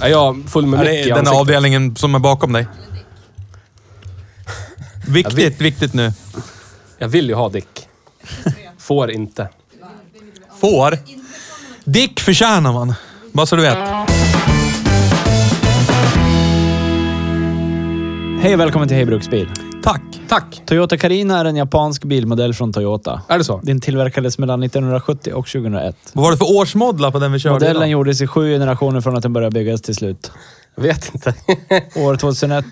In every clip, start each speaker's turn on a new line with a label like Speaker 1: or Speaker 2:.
Speaker 1: Är jag full med
Speaker 2: Ja,
Speaker 1: mycket
Speaker 2: det
Speaker 1: i
Speaker 2: är den
Speaker 1: ansiktet?
Speaker 2: avdelningen som är bakom dig. Viktigt, viktigt nu.
Speaker 1: Jag vill ju ha Dick. Får inte.
Speaker 2: Får. Dick förtjänar man. Bara så du vet.
Speaker 3: Hej och välkommen till Hej Bruksbil.
Speaker 2: Tack.
Speaker 1: Tack!
Speaker 3: Toyota Carina är en japansk bilmodell från Toyota.
Speaker 1: Är det så?
Speaker 3: Den tillverkades mellan 1970 och 2001.
Speaker 2: Vad var det för årsmodlar på den vi körde
Speaker 3: Modellen
Speaker 2: idag?
Speaker 3: gjordes i sju generationer från att den började byggas till slut.
Speaker 1: Jag vet inte.
Speaker 3: År 2001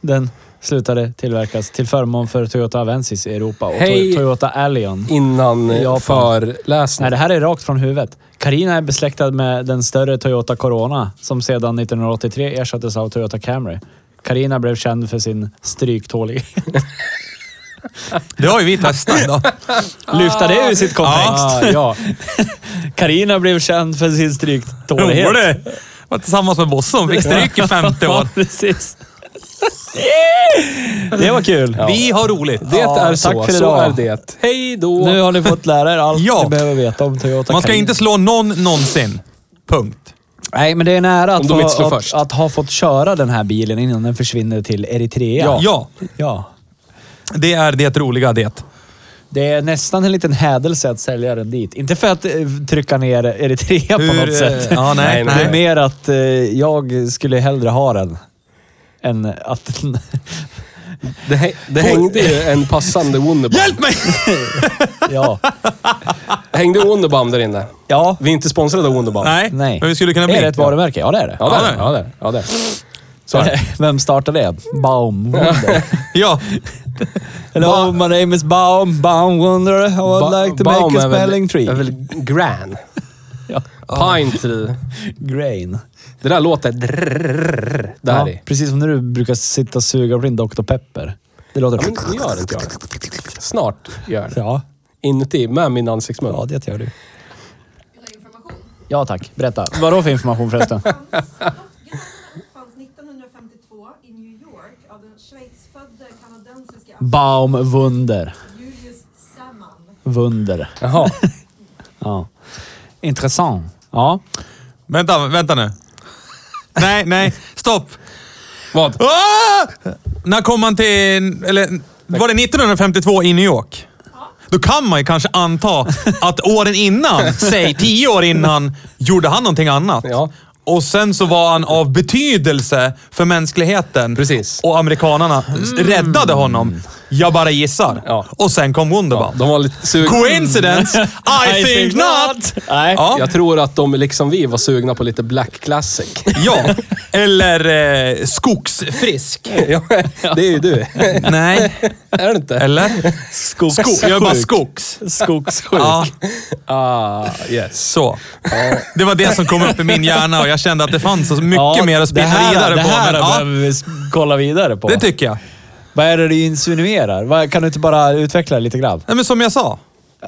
Speaker 3: den slutade tillverkas till förmån för Toyota Avensis i Europa och
Speaker 1: Hej.
Speaker 3: Toy- Toyota Allion.
Speaker 1: Innan eh,
Speaker 3: Japan. Nej,
Speaker 1: föreläsning.
Speaker 3: det här är rakt från huvudet. Carina är besläktad med den större Toyota Corona som sedan 1983 ersattes av Toyota Camry. Carina blev känd för sin stryktålighet.
Speaker 2: Det har ju vi testat idag.
Speaker 3: Lyfta det ur sitt kontext.
Speaker 1: Ah, ja.
Speaker 3: Carina blev känd för sin stryktålighet.
Speaker 2: Gjorde det? Var tillsammans med Bosson. Fick stryk i 50 år.
Speaker 3: Ja, precis. Det var kul.
Speaker 2: Vi har roligt.
Speaker 1: Det
Speaker 3: Ja,
Speaker 1: är
Speaker 3: tack
Speaker 1: så.
Speaker 3: för
Speaker 1: så
Speaker 3: idag.
Speaker 1: är det. Hej då!
Speaker 3: Nu har ni fått lära er allt
Speaker 2: Ja.
Speaker 3: ni behöver veta om Toyota
Speaker 2: Man ska
Speaker 3: Carina.
Speaker 2: inte slå någon någonsin. Punkt.
Speaker 3: Nej, men det är nära
Speaker 1: Om de
Speaker 3: att, få,
Speaker 1: inte slår
Speaker 3: att,
Speaker 1: först.
Speaker 3: att ha fått köra den här bilen innan den försvinner till Eritrea.
Speaker 2: Ja.
Speaker 3: ja.
Speaker 2: det är det roliga det.
Speaker 3: Det är nästan en liten hädelse att sälja den dit. Inte för att eh, trycka ner Eritrea på
Speaker 2: Hur,
Speaker 3: något sätt.
Speaker 2: eh, ja, nej,
Speaker 3: Det
Speaker 2: nej.
Speaker 3: är mer att eh, jag skulle hellre ha den än att den...
Speaker 1: Det, hä- det hängde ju en passande Wunderbaum.
Speaker 2: Hjälp mig!
Speaker 3: ja.
Speaker 1: Hängde ju Wunderbaum där inne.
Speaker 3: Ja.
Speaker 1: Vi är inte sponsrade av Wunderbaum.
Speaker 2: Nej,
Speaker 3: Nej.
Speaker 2: men vi skulle kunna bli.
Speaker 3: Är det ett varumärke? Ja, det är det.
Speaker 1: Ja,
Speaker 2: Ja,
Speaker 1: där.
Speaker 2: det.
Speaker 1: Ja, där. Ja, där. Så är det.
Speaker 3: Vem startade det? Baum Wonder.
Speaker 2: Ja.
Speaker 3: Hello, my name is Baum. Baum Wonder. I would like to
Speaker 1: Baum
Speaker 3: make a
Speaker 1: är väl-
Speaker 3: spelling tree.
Speaker 1: är väl gran.
Speaker 3: Ja.
Speaker 1: Pine tree.
Speaker 3: Grain.
Speaker 1: Det där låter drrrr, där
Speaker 3: Ja,
Speaker 1: i.
Speaker 3: precis som när du brukar sitta och suga på din Dr. Pepper. Det låter...
Speaker 1: Men nu gör inte jag det. Snart gör det.
Speaker 3: Ja,
Speaker 1: Inuti, med min ansiktsmun.
Speaker 3: ja det gör du. Ja tack, berätta. Vadå för information förresten?
Speaker 4: fanns 1952 i New York av den schweizfödde kanadensiska
Speaker 3: Baum Wunder.
Speaker 4: Julius Saman.
Speaker 3: Wunder.
Speaker 1: Jaha.
Speaker 3: Ja. Intressant. Ja.
Speaker 2: Vänta, vänta nu. Nej, nej. Stopp.
Speaker 1: Vad?
Speaker 2: Ah! När kom man till... Eller, var det 1952 i New York? Då kan man ju kanske anta att åren innan, säg tio år innan, gjorde han någonting annat.
Speaker 1: Ja.
Speaker 2: Och sen så var han av betydelse för mänskligheten.
Speaker 1: Precis. Mm.
Speaker 2: Och amerikanarna räddade honom. Jag bara gissar.
Speaker 1: Ja.
Speaker 2: Och sen kom Wunderbaum.
Speaker 1: De var lite sugna.
Speaker 2: Coincidence? I, think not!
Speaker 3: Nej.
Speaker 2: Ja.
Speaker 1: Jag tror att de, liksom vi, var sugna på lite black classic.
Speaker 2: Ja, eller eh, skogsfrisk.
Speaker 1: Ja, det är ju du.
Speaker 2: Nej,
Speaker 1: Är det inte?
Speaker 2: eller?
Speaker 3: Skogs...
Speaker 2: Skog. Jag är bara skogs.
Speaker 3: Skogssjuk.
Speaker 2: Ja,
Speaker 1: Ah, yes.
Speaker 2: så. Det var det som kom upp i min hjärna och jag kände att det fanns så mycket
Speaker 3: Ja,
Speaker 2: mer att
Speaker 3: det
Speaker 2: spinna
Speaker 3: här,
Speaker 2: vidare
Speaker 3: det
Speaker 2: på.
Speaker 3: här
Speaker 2: men, ja,
Speaker 3: behöver vi s- kolla vidare på.
Speaker 2: det tycker jag.
Speaker 3: Vad är det du insinuerar? Vad- Kan du inte bara utveckla det lite grann?
Speaker 2: Nej, men som jag sa.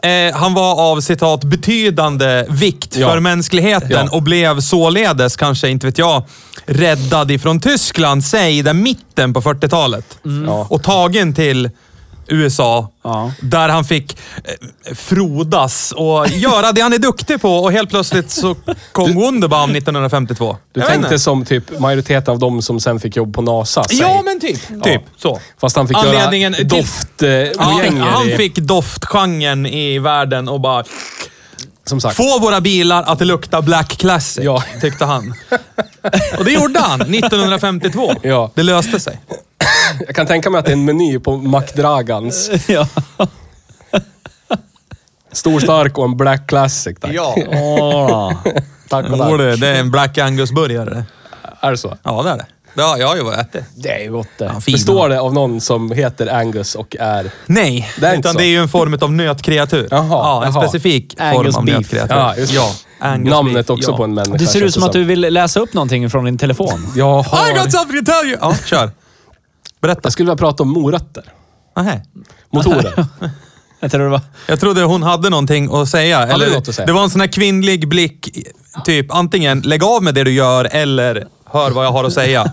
Speaker 2: Eh, han var av citat betydande vikt
Speaker 1: Ja.
Speaker 2: för mänskligheten
Speaker 1: Ja.
Speaker 2: och blev således, kanske inte vet jag, räddad ifrån Tyskland, säg i den mitten på 40-talet.
Speaker 1: Mm. Ja.
Speaker 2: Och tagen till USA,
Speaker 3: Ja.
Speaker 2: där han fick eh, frodas och göra det han är duktig på och helt plötsligt så kom Wunderbaum 1952.
Speaker 1: Du
Speaker 2: Jag vet
Speaker 1: tänkte
Speaker 2: inte.
Speaker 1: som typ majoriteten av dem som sen fick jobb på NASA. säg.
Speaker 2: Ja, men typ. Typ. Så.
Speaker 1: Fast han fick
Speaker 2: Anledningen
Speaker 1: göra
Speaker 2: till-
Speaker 1: doft eh,
Speaker 2: Ja,
Speaker 1: mojänger
Speaker 2: han
Speaker 1: i-
Speaker 2: fick doftgenren i världen och bara...
Speaker 1: Som sagt.
Speaker 2: Få våra bilar att lukta Black Classic,
Speaker 1: Ja.
Speaker 2: tyckte han. Och det gjorde han 1952.
Speaker 1: Ja.
Speaker 2: Det löste sig.
Speaker 1: Jag kan tänka mig att det är en meny på McDragans.
Speaker 3: ja.
Speaker 1: Stor stark och en Black Classic tack.
Speaker 2: Ja.
Speaker 1: Ah.
Speaker 3: Åh, tack och
Speaker 2: Jo,
Speaker 3: tack.
Speaker 2: du, det är en Black Angus-burgare.
Speaker 1: Är det så?
Speaker 2: Ja, det är det. Det har jag ju ätit.
Speaker 3: Det är ju gott det.
Speaker 2: Ja, fina.
Speaker 1: Består det av någon som heter Angus och är...
Speaker 2: Nej,
Speaker 1: Det är inte
Speaker 2: utan
Speaker 1: så.
Speaker 2: det är ju en form av nötkreatur.
Speaker 1: Jaha,
Speaker 2: ja, en
Speaker 1: jaha.
Speaker 2: specifik
Speaker 3: Angus
Speaker 2: form av
Speaker 3: beef.
Speaker 2: nötkreatur.
Speaker 1: Ja, just
Speaker 2: ja, Angus
Speaker 1: Namnet
Speaker 2: beef,
Speaker 1: också
Speaker 2: ja.
Speaker 1: på en människa.
Speaker 3: Det ser ut
Speaker 1: känns
Speaker 3: som att
Speaker 1: det
Speaker 3: du vill läsa upp någonting från din telefon.
Speaker 1: Jag har...
Speaker 2: I got something to tell you! Ja, kör. Berätta.
Speaker 1: Jag skulle vilja prata om morötter.
Speaker 2: Nähä.
Speaker 1: Motorer.
Speaker 3: Jag tror det var...
Speaker 2: Jag trodde hon hade någonting att säga.
Speaker 1: du något att säga?
Speaker 2: Det var en sån här kvinnlig blick. i- Typ antingen lägg av med det du gör eller hör vad jag har att säga.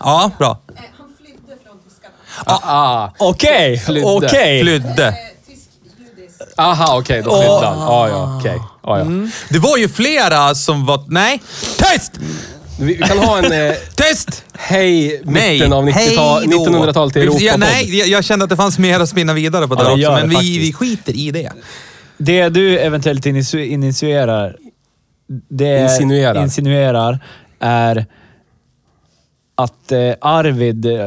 Speaker 2: Ja, bra.
Speaker 4: Eh, han flydde från tyskarna.
Speaker 1: ah,
Speaker 3: Okej,
Speaker 1: Flydde.
Speaker 3: okej.
Speaker 2: Flydde.
Speaker 4: Eh, Tysk-judisk.
Speaker 1: aha, okej. då flydde han. Ah, ja, okej. Ah, ja.
Speaker 2: Det var ju flera som var... Nej! Tyst!
Speaker 1: Vi vi kan ha en eh,
Speaker 2: Tyst!
Speaker 1: hej
Speaker 2: Nej!
Speaker 1: mitten av 90-tal-
Speaker 2: Hej då.
Speaker 1: 1900-tal till Europa
Speaker 2: ja, Nej, jag, jag kände att det fanns mer att spinna vidare på
Speaker 3: Ja,
Speaker 2: där
Speaker 3: det
Speaker 2: också,
Speaker 3: gör
Speaker 2: men
Speaker 3: det
Speaker 2: vi, vi
Speaker 3: faktiskt.
Speaker 2: skiter i det.
Speaker 3: Det du eventuellt inisu- initierar... Det
Speaker 1: Insinuerar.
Speaker 3: insinuerar är att eh, Arvid, eh,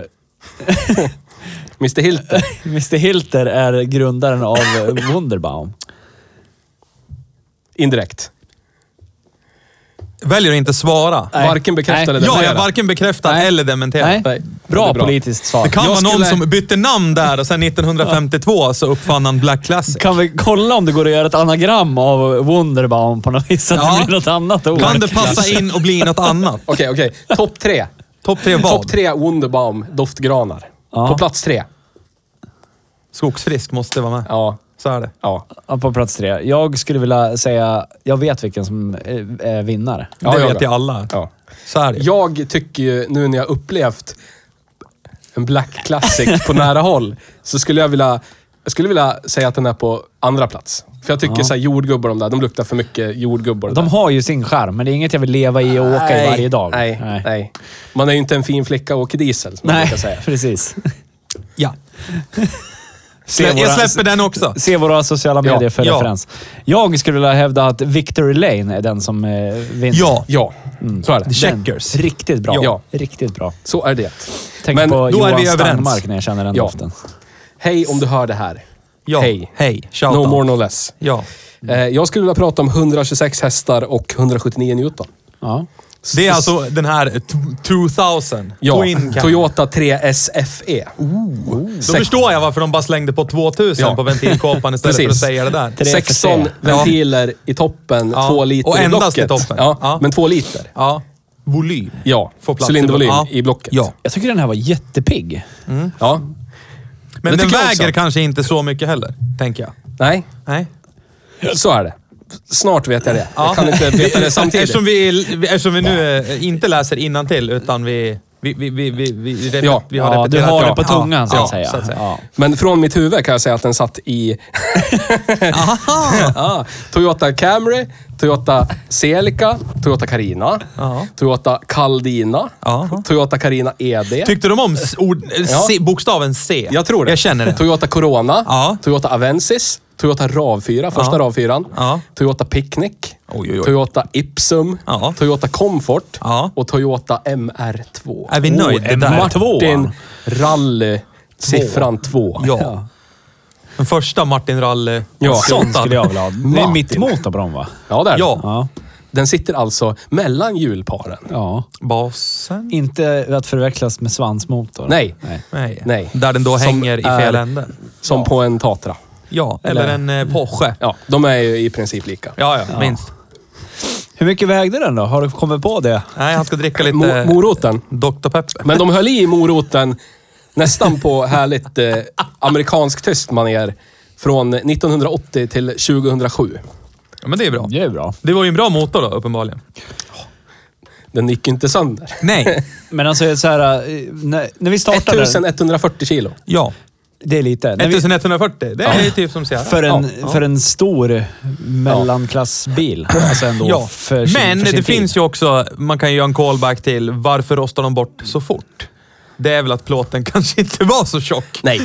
Speaker 1: Mr Hilton.
Speaker 3: Mr Hilter, är grundaren av eh, Wunderbaum.
Speaker 1: Indirekt.
Speaker 2: Väljer att inte svara.
Speaker 3: Nej.
Speaker 1: Varken bekräftar
Speaker 3: Nej.
Speaker 1: eller
Speaker 2: Ja,
Speaker 1: dementerar.
Speaker 2: jag varken bekräftar eller dementerar.
Speaker 3: Nej,
Speaker 1: Nej, det
Speaker 3: bra,
Speaker 1: är bra.
Speaker 3: politiskt svar.
Speaker 2: Det kan
Speaker 1: Jag
Speaker 2: vara någon
Speaker 1: skulle-
Speaker 2: som bytte namn där och sen 1952 så uppfann han Black Classic.
Speaker 3: Kan vi kolla om det går att göra ett anagram av Wonderbaum på något vis? Så att
Speaker 2: Ja.
Speaker 3: det blir något annat ord.
Speaker 2: Kan det passa in och bli något annat?
Speaker 1: Okej, okej. Topp tre.
Speaker 2: Topp tre vad?
Speaker 1: Topp tre Wunderbaum doftgranar.
Speaker 3: Ja.
Speaker 1: På plats tre.
Speaker 2: Skogsfrisk måste vara med.
Speaker 1: Ja.
Speaker 2: Så är det.
Speaker 1: Ja.
Speaker 3: Ja, på plats tre. Jag skulle vilja säga... Jag vet vilken som är- är vinnare.
Speaker 1: Ja,
Speaker 2: det
Speaker 1: jag
Speaker 2: vet
Speaker 1: med.
Speaker 2: ju alla.
Speaker 1: ja.
Speaker 2: Så är det.
Speaker 1: Jag tycker ju, nu när jag upplevt en Black Classic på nära håll, så skulle jag vilja, jag skulle vilja säga att den är på andra plats. För jag tycker så här, jordgubbar de där, de luktar för mycket jordgubbar.
Speaker 3: De har ju sin skärm, men det är inget jag vill leva i och åka i varje dag.
Speaker 1: Nej, nej. Man är ju inte en fin flicka och åker diesel, som man
Speaker 3: Nej,
Speaker 1: brukar säga.
Speaker 3: precis.
Speaker 2: Ja.
Speaker 3: Se
Speaker 2: Jag
Speaker 3: våra-
Speaker 2: släpper den också.
Speaker 3: Se våra sociala
Speaker 1: Ja,
Speaker 3: medier för
Speaker 2: ja.
Speaker 3: referens. Jag skulle vilja hävda att Victory Lane är den som eh, vinner.
Speaker 2: Ja.
Speaker 1: Ja,
Speaker 3: Mm.
Speaker 1: så är det.
Speaker 2: Checkers.
Speaker 3: Riktigt bra.
Speaker 1: Ja.
Speaker 3: Riktigt bra.
Speaker 1: Så är det.
Speaker 3: Tänk
Speaker 1: Men
Speaker 3: på
Speaker 2: då är
Speaker 3: Johan
Speaker 2: vi överens.
Speaker 3: Stenmark när jag känner den
Speaker 1: Ja.
Speaker 3: doften.
Speaker 1: hej om du hör det här.
Speaker 2: Ja.
Speaker 1: Hej.
Speaker 2: Hej. Shout
Speaker 1: No
Speaker 2: out.
Speaker 1: more, no less.
Speaker 2: Ja.
Speaker 3: Mm.
Speaker 1: Eh, Jag skulle vilja prata om 126 hästar och 179 Newton.
Speaker 3: Ja.
Speaker 2: Det är alltså den här t- 2000.
Speaker 1: Ja,
Speaker 2: Twin cam.
Speaker 1: Toyota 3 SFE.
Speaker 2: Då förstår jag varför de bara slängde på 2000
Speaker 1: Ja.
Speaker 2: på ventilkåpan istället för att
Speaker 1: Precis.
Speaker 2: säga det där.
Speaker 3: Tre för
Speaker 1: 16
Speaker 3: C.
Speaker 1: ventiler i toppen,
Speaker 2: Ja.
Speaker 1: två liter
Speaker 2: Och
Speaker 1: i
Speaker 2: endast
Speaker 1: blocket.
Speaker 2: i toppen.
Speaker 1: Ja,
Speaker 2: Ja.
Speaker 1: Men två liter.
Speaker 2: Ja. Volym.
Speaker 1: Ja,
Speaker 2: Får plats i
Speaker 1: cylindervolym
Speaker 2: blocket. Ja.
Speaker 1: i blocket.
Speaker 2: Ja.
Speaker 3: Jag tycker den här var
Speaker 1: ja.
Speaker 3: jättepigg.
Speaker 2: Men
Speaker 1: Det
Speaker 2: den
Speaker 1: tycker jag
Speaker 2: väger
Speaker 1: också.
Speaker 2: kanske inte så mycket heller, tänker jag.
Speaker 1: Nej,
Speaker 2: Nej.
Speaker 1: så är det. Snart vet jag det.
Speaker 2: Ja.
Speaker 1: Jag kan inte veta det samtidigt.
Speaker 2: Eftersom vi, eftersom vi nu eh, inte läser innantill utan vi, vi, vi, vi, vi, vi, rep-
Speaker 1: Ja.
Speaker 2: vi har
Speaker 3: Ja, du
Speaker 2: repeterat.
Speaker 3: har
Speaker 2: ja.
Speaker 3: det på tungan så,
Speaker 2: ja,
Speaker 3: att säga.
Speaker 2: Så att säga.
Speaker 3: Ja.
Speaker 1: Men från mitt huvud kan jag säga att den satt i... ja, Toyota Camry, Toyota Celica, Toyota Carina,
Speaker 2: Ja.
Speaker 1: Toyota Caldina,
Speaker 2: Ja.
Speaker 1: Toyota Carina E ED.
Speaker 2: Tyckte de om s- ord, eh,
Speaker 1: Ja.
Speaker 2: C, bokstaven C?
Speaker 1: Jag tror det.
Speaker 2: Jag känner det.
Speaker 1: Toyota Corona,
Speaker 2: Ja.
Speaker 1: Toyota Avensis, Toyota RAV4, första
Speaker 2: Ja.
Speaker 1: RAV4,
Speaker 2: Ja.
Speaker 1: Toyota Picnic,
Speaker 2: Oj, oj, oj.
Speaker 1: Toyota Ipsum,
Speaker 2: Ja.
Speaker 1: Toyota Comfort
Speaker 2: Ja.
Speaker 1: och Toyota MR2.
Speaker 2: Är vi nöjda
Speaker 1: det
Speaker 2: där?
Speaker 1: Martin
Speaker 3: Tvåan.
Speaker 1: Rally, siffran två.
Speaker 2: Ja. Den första Martin eh, Ralle.
Speaker 1: Ja.
Speaker 3: Sån skulle jag vilja ha. Det är
Speaker 1: Martin.
Speaker 3: mitt motor på dem va?
Speaker 1: Ja, där.
Speaker 2: Ja.
Speaker 3: Ja.
Speaker 1: Den sitter alltså mellan hjulparen.
Speaker 3: ja.
Speaker 2: Basen?
Speaker 3: Inte att förväxlas med svansmotor.
Speaker 1: Nej.
Speaker 2: Nej.
Speaker 1: Nej.
Speaker 2: Där den då
Speaker 1: Som
Speaker 2: hänger i fel
Speaker 1: är-
Speaker 2: ände.
Speaker 1: Som på en Tatra.
Speaker 2: Ja, eller,
Speaker 3: Eller-
Speaker 2: en eh, Porsche. Ja,
Speaker 1: Ja, de är ju i princip lika.
Speaker 2: ja, minst.
Speaker 3: Hur mycket vägde den då? Har du kommit på det?
Speaker 2: Nej, han ska dricka
Speaker 1: Mo-
Speaker 2: lite
Speaker 1: moroten.
Speaker 2: Dr. Pepper.
Speaker 1: Men de höll i moroten nästan på härligt eh, amerikansk-tyst manér från 1980 till 2007.
Speaker 2: Ja, men det är bra.
Speaker 3: Det är bra.
Speaker 2: Det var ju en bra motor då, uppenbarligen.
Speaker 1: Den gick inte sönder.
Speaker 2: Nej.
Speaker 3: Men alltså så här, eh, när, när vi startade...
Speaker 1: 1140 kilo.
Speaker 2: Ja.
Speaker 3: Det är lite. När vi,
Speaker 2: 1140. Det är ju typ som Sierra.
Speaker 3: för, en,
Speaker 2: Ja.
Speaker 3: för en stor mellanklassbil. Alltså ändå
Speaker 2: Ja,
Speaker 3: för sin,
Speaker 2: men
Speaker 3: för sin
Speaker 2: det
Speaker 3: tid.
Speaker 2: finns ju också, man kan ju göra en callback till varför rostar de bort så fort? Det är väl att plåten kanske inte var så tjock.
Speaker 1: Nej.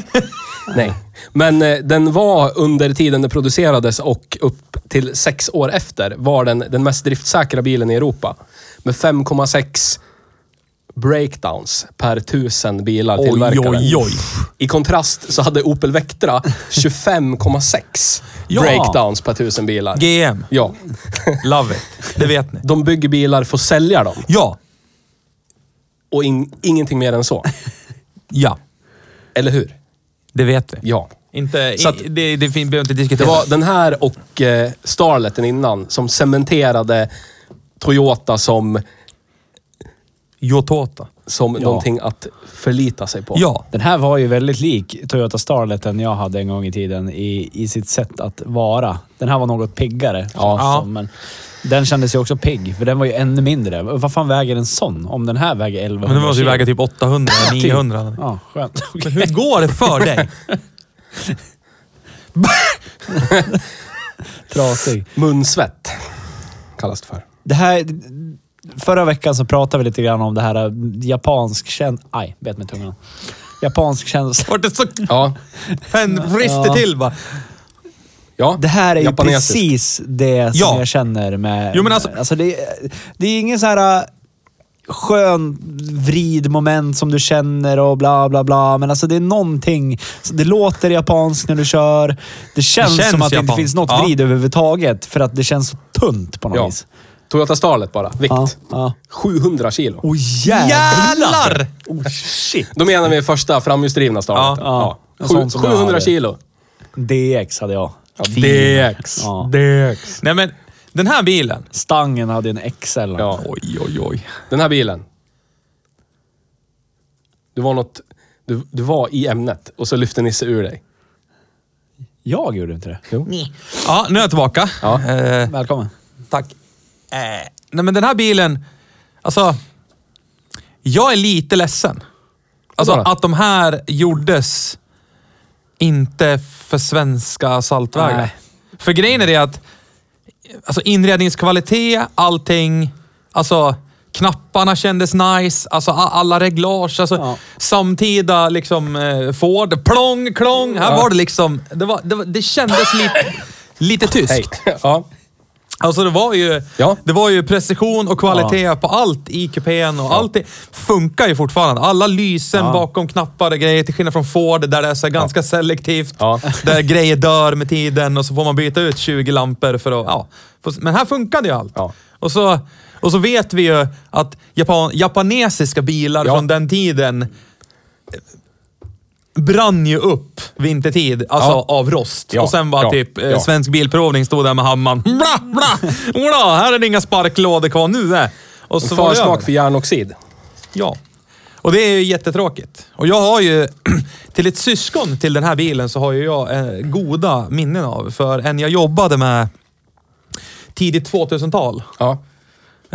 Speaker 1: Nej. Men eh, den var under tiden den producerades och upp till sex år efter var den den mest driftsäkra bilen i Europa. Med 5,6 breakdowns per tusen bilar
Speaker 2: Oj,
Speaker 1: tillverkade.
Speaker 2: oj, oj.
Speaker 1: I kontrast så hade Opel Vectra 25,6
Speaker 2: Ja.
Speaker 1: breakdowns per tusen bilar.
Speaker 2: GM.
Speaker 1: ja.
Speaker 2: Love it. Det vet ni.
Speaker 1: De bygger bilar för att sälja dem
Speaker 2: Ja.
Speaker 1: och in, ingenting mer än så.
Speaker 2: Ja.
Speaker 1: Eller hur?
Speaker 2: Det vet vi.
Speaker 1: Ja.
Speaker 2: Inte,
Speaker 1: Så att-
Speaker 2: i, det, det fin- behöver inte
Speaker 1: Det
Speaker 2: diskuteras.
Speaker 1: var den här och eh, Starleten innan som cementerade Toyota som,
Speaker 2: Jotota.
Speaker 1: som någonting att förlita sig på.
Speaker 2: Ja.
Speaker 3: Den här var ju väldigt lik Toyota Starleten jag hade en gång i tiden i, i sitt sätt att vara. Den här var något piggare. känns det
Speaker 2: Ja.
Speaker 3: som, Men den kändes ju också pigg, för den var ju ännu mindre. Vad fan väger en sån? Om den här väger 1100
Speaker 2: Men det måste ju
Speaker 3: kilo?
Speaker 2: väga typ 800, 900.
Speaker 3: Ja, skönt.
Speaker 2: Men hur går det för dig?
Speaker 3: Trasig.
Speaker 1: Munsvett kallas det för.
Speaker 3: Det här... Förra veckan så pratade vi lite grann om det här eh, japansk känsla... Aj, bet mig i tungan. Japansk känsla.
Speaker 2: Vart det så...
Speaker 1: Ja.
Speaker 2: Pen rister
Speaker 3: Ja.
Speaker 2: till bara.
Speaker 1: ja.
Speaker 3: Det här är ju
Speaker 1: Japanesiskt.
Speaker 3: precis det som
Speaker 2: Ja.
Speaker 3: jag känner med...
Speaker 2: Jo, men alltså-
Speaker 3: det, det är ingen så här äh, skön vridmoment som du känner och bla bla bla. Men alltså det är någonting. Så det låter japanskt när du kör. Det känns,
Speaker 2: känns
Speaker 3: som att det inte
Speaker 2: japanskt.
Speaker 3: finns något
Speaker 2: Ja.
Speaker 3: vrid överhuvudtaget för att det känns så tunt på något
Speaker 1: Ja.
Speaker 3: vis.
Speaker 1: Toyota Starlet bara, vikt.
Speaker 3: Ja, ja.
Speaker 1: 700 kilo.
Speaker 3: Åh
Speaker 2: Jävlar!
Speaker 3: Oh, shit!
Speaker 1: Då menar vi första framhjulsdrivna Starleten.
Speaker 3: Ja. En
Speaker 1: Sju-
Speaker 3: sån som jag
Speaker 1: 700
Speaker 3: hade.
Speaker 1: kilo.
Speaker 3: DX hade jag.
Speaker 1: Ja, DX.
Speaker 3: Ja.
Speaker 1: DX.
Speaker 2: Nej men, den här bilen.
Speaker 3: Stangen hade en XL.
Speaker 1: Ja.
Speaker 2: Oj, oj, oj.
Speaker 1: Den här bilen. Du var något... Du, du var i ämnet och så lyfte Nisse ur dig.
Speaker 3: Jag gjorde inte det.
Speaker 2: Ja, nu är jag tillbaka.
Speaker 1: Ja.
Speaker 2: Eh,
Speaker 3: Välkommen.
Speaker 2: Tack. Eh, nej men den här bilen, alltså. Jag är lite ledsen. Alltså
Speaker 1: Vadå då?
Speaker 2: att de här gjordes inte för svenska saltvägar.
Speaker 3: Nej.
Speaker 2: För grejen är det att alltså inredningskvalitet, allting. Alltså knapparna kändes nice, alltså a- alla reglage. Alltså,
Speaker 3: Ja.
Speaker 2: Samtida liksom eh, Ford. Plong, klong. Här var det liksom, det, var, det, var, det kändes lite, lite tyskt.
Speaker 1: Hej. Ja.
Speaker 2: Alltså det var ju,
Speaker 1: Ja.
Speaker 2: det var ju precision och kvalitet på allt i kupén och allt det funkar ju fortfarande. Alla lysen bakom knappar och grejer, till skillnad från Ford där det är så här ganska selektivt.
Speaker 1: Ja.
Speaker 2: Där grejer dör med tiden och så får man byta ut 20 lampor för att... Ja. Få- Men här funkade ju allt.
Speaker 1: Ja.
Speaker 2: Och, så, och så vet vi ju att japan, japanesiska bilar
Speaker 1: Ja.
Speaker 2: från den tiden eh, brann ju upp vintertid, alltså
Speaker 1: Ja.
Speaker 2: av rost.
Speaker 1: Ja.
Speaker 2: Och sen var
Speaker 1: Ja.
Speaker 2: typ eh,
Speaker 1: Ja.
Speaker 2: Svensk Bilprovning stod där med hammaren. Bra, bra, bra. Här är det inga sparklådor kvar nu. Där. Och så var det över.
Speaker 1: Försmak för järnoxid.
Speaker 2: Ja. Och det är ju jättetråkigt. Och jag har ju, till ett syskon till den här bilen så har ju jag eh, goda minnen av. För en jag jobbade med tidigt 2000-tal
Speaker 1: Ja.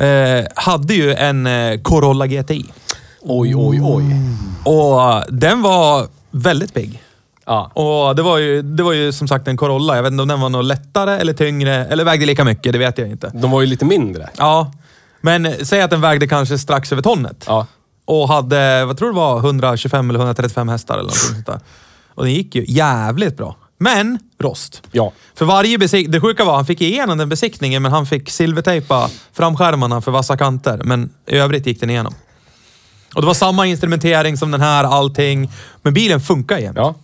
Speaker 2: eh, hade ju en eh, Corolla GTI.
Speaker 1: Oj, oj, oj.
Speaker 2: Och eh, den var väldigt pigg.
Speaker 1: Ja.
Speaker 2: Och det var, ju, det var ju som sagt en Corolla. Jag vet inte om den var något lättare eller tyngre eller vägde lika mycket. Det vet jag inte.
Speaker 1: De var ju lite mindre.
Speaker 2: Ja, men eh, säg att den vägde kanske strax över tonnet.
Speaker 1: Ja.
Speaker 2: Och hade, vad tror du det var, 125 eller 135 hästar eller någonting sånt där. Och den gick ju jävligt bra. Men rost.
Speaker 1: Ja.
Speaker 2: För varje besiktning, det sjuka var han fick igenom den besiktningen men han fick silvertejpa framskärmarna för vassa kanter. Men i övrigt gick den igenom. Och det var samma instrumentering som den här, allting. Men bilen funkar igen.
Speaker 1: Ja.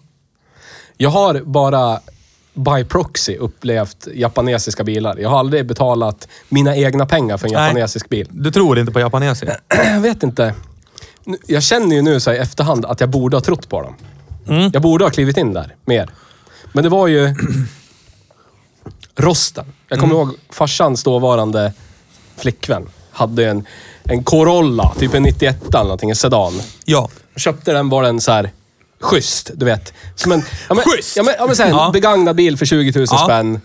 Speaker 1: Jag har bara by proxy upplevt japanesiska bilar. Jag har aldrig betalat mina egna pengar för en
Speaker 2: Nej.
Speaker 1: japanesisk bil.
Speaker 2: Du tror inte på japaneser?
Speaker 1: Jag vet inte. Nu- Jag känner ju nu så här i efterhand att jag borde ha trott på dem. Jag borde ha klivit in där mer. Men det var ju rosten. Jag kommer ihåg farsans dåvarande flickvän hade en, en Corolla, typ en 91 eller någonting, en sedan.
Speaker 2: Ja.
Speaker 1: Köpte den var den så här schysst, du vet. Som en, ja, men,
Speaker 2: Schysst!
Speaker 1: Ja, men, ja, men så här, en
Speaker 2: Ja.
Speaker 1: begagnad bil för 20 000
Speaker 2: Ja.
Speaker 1: spänn.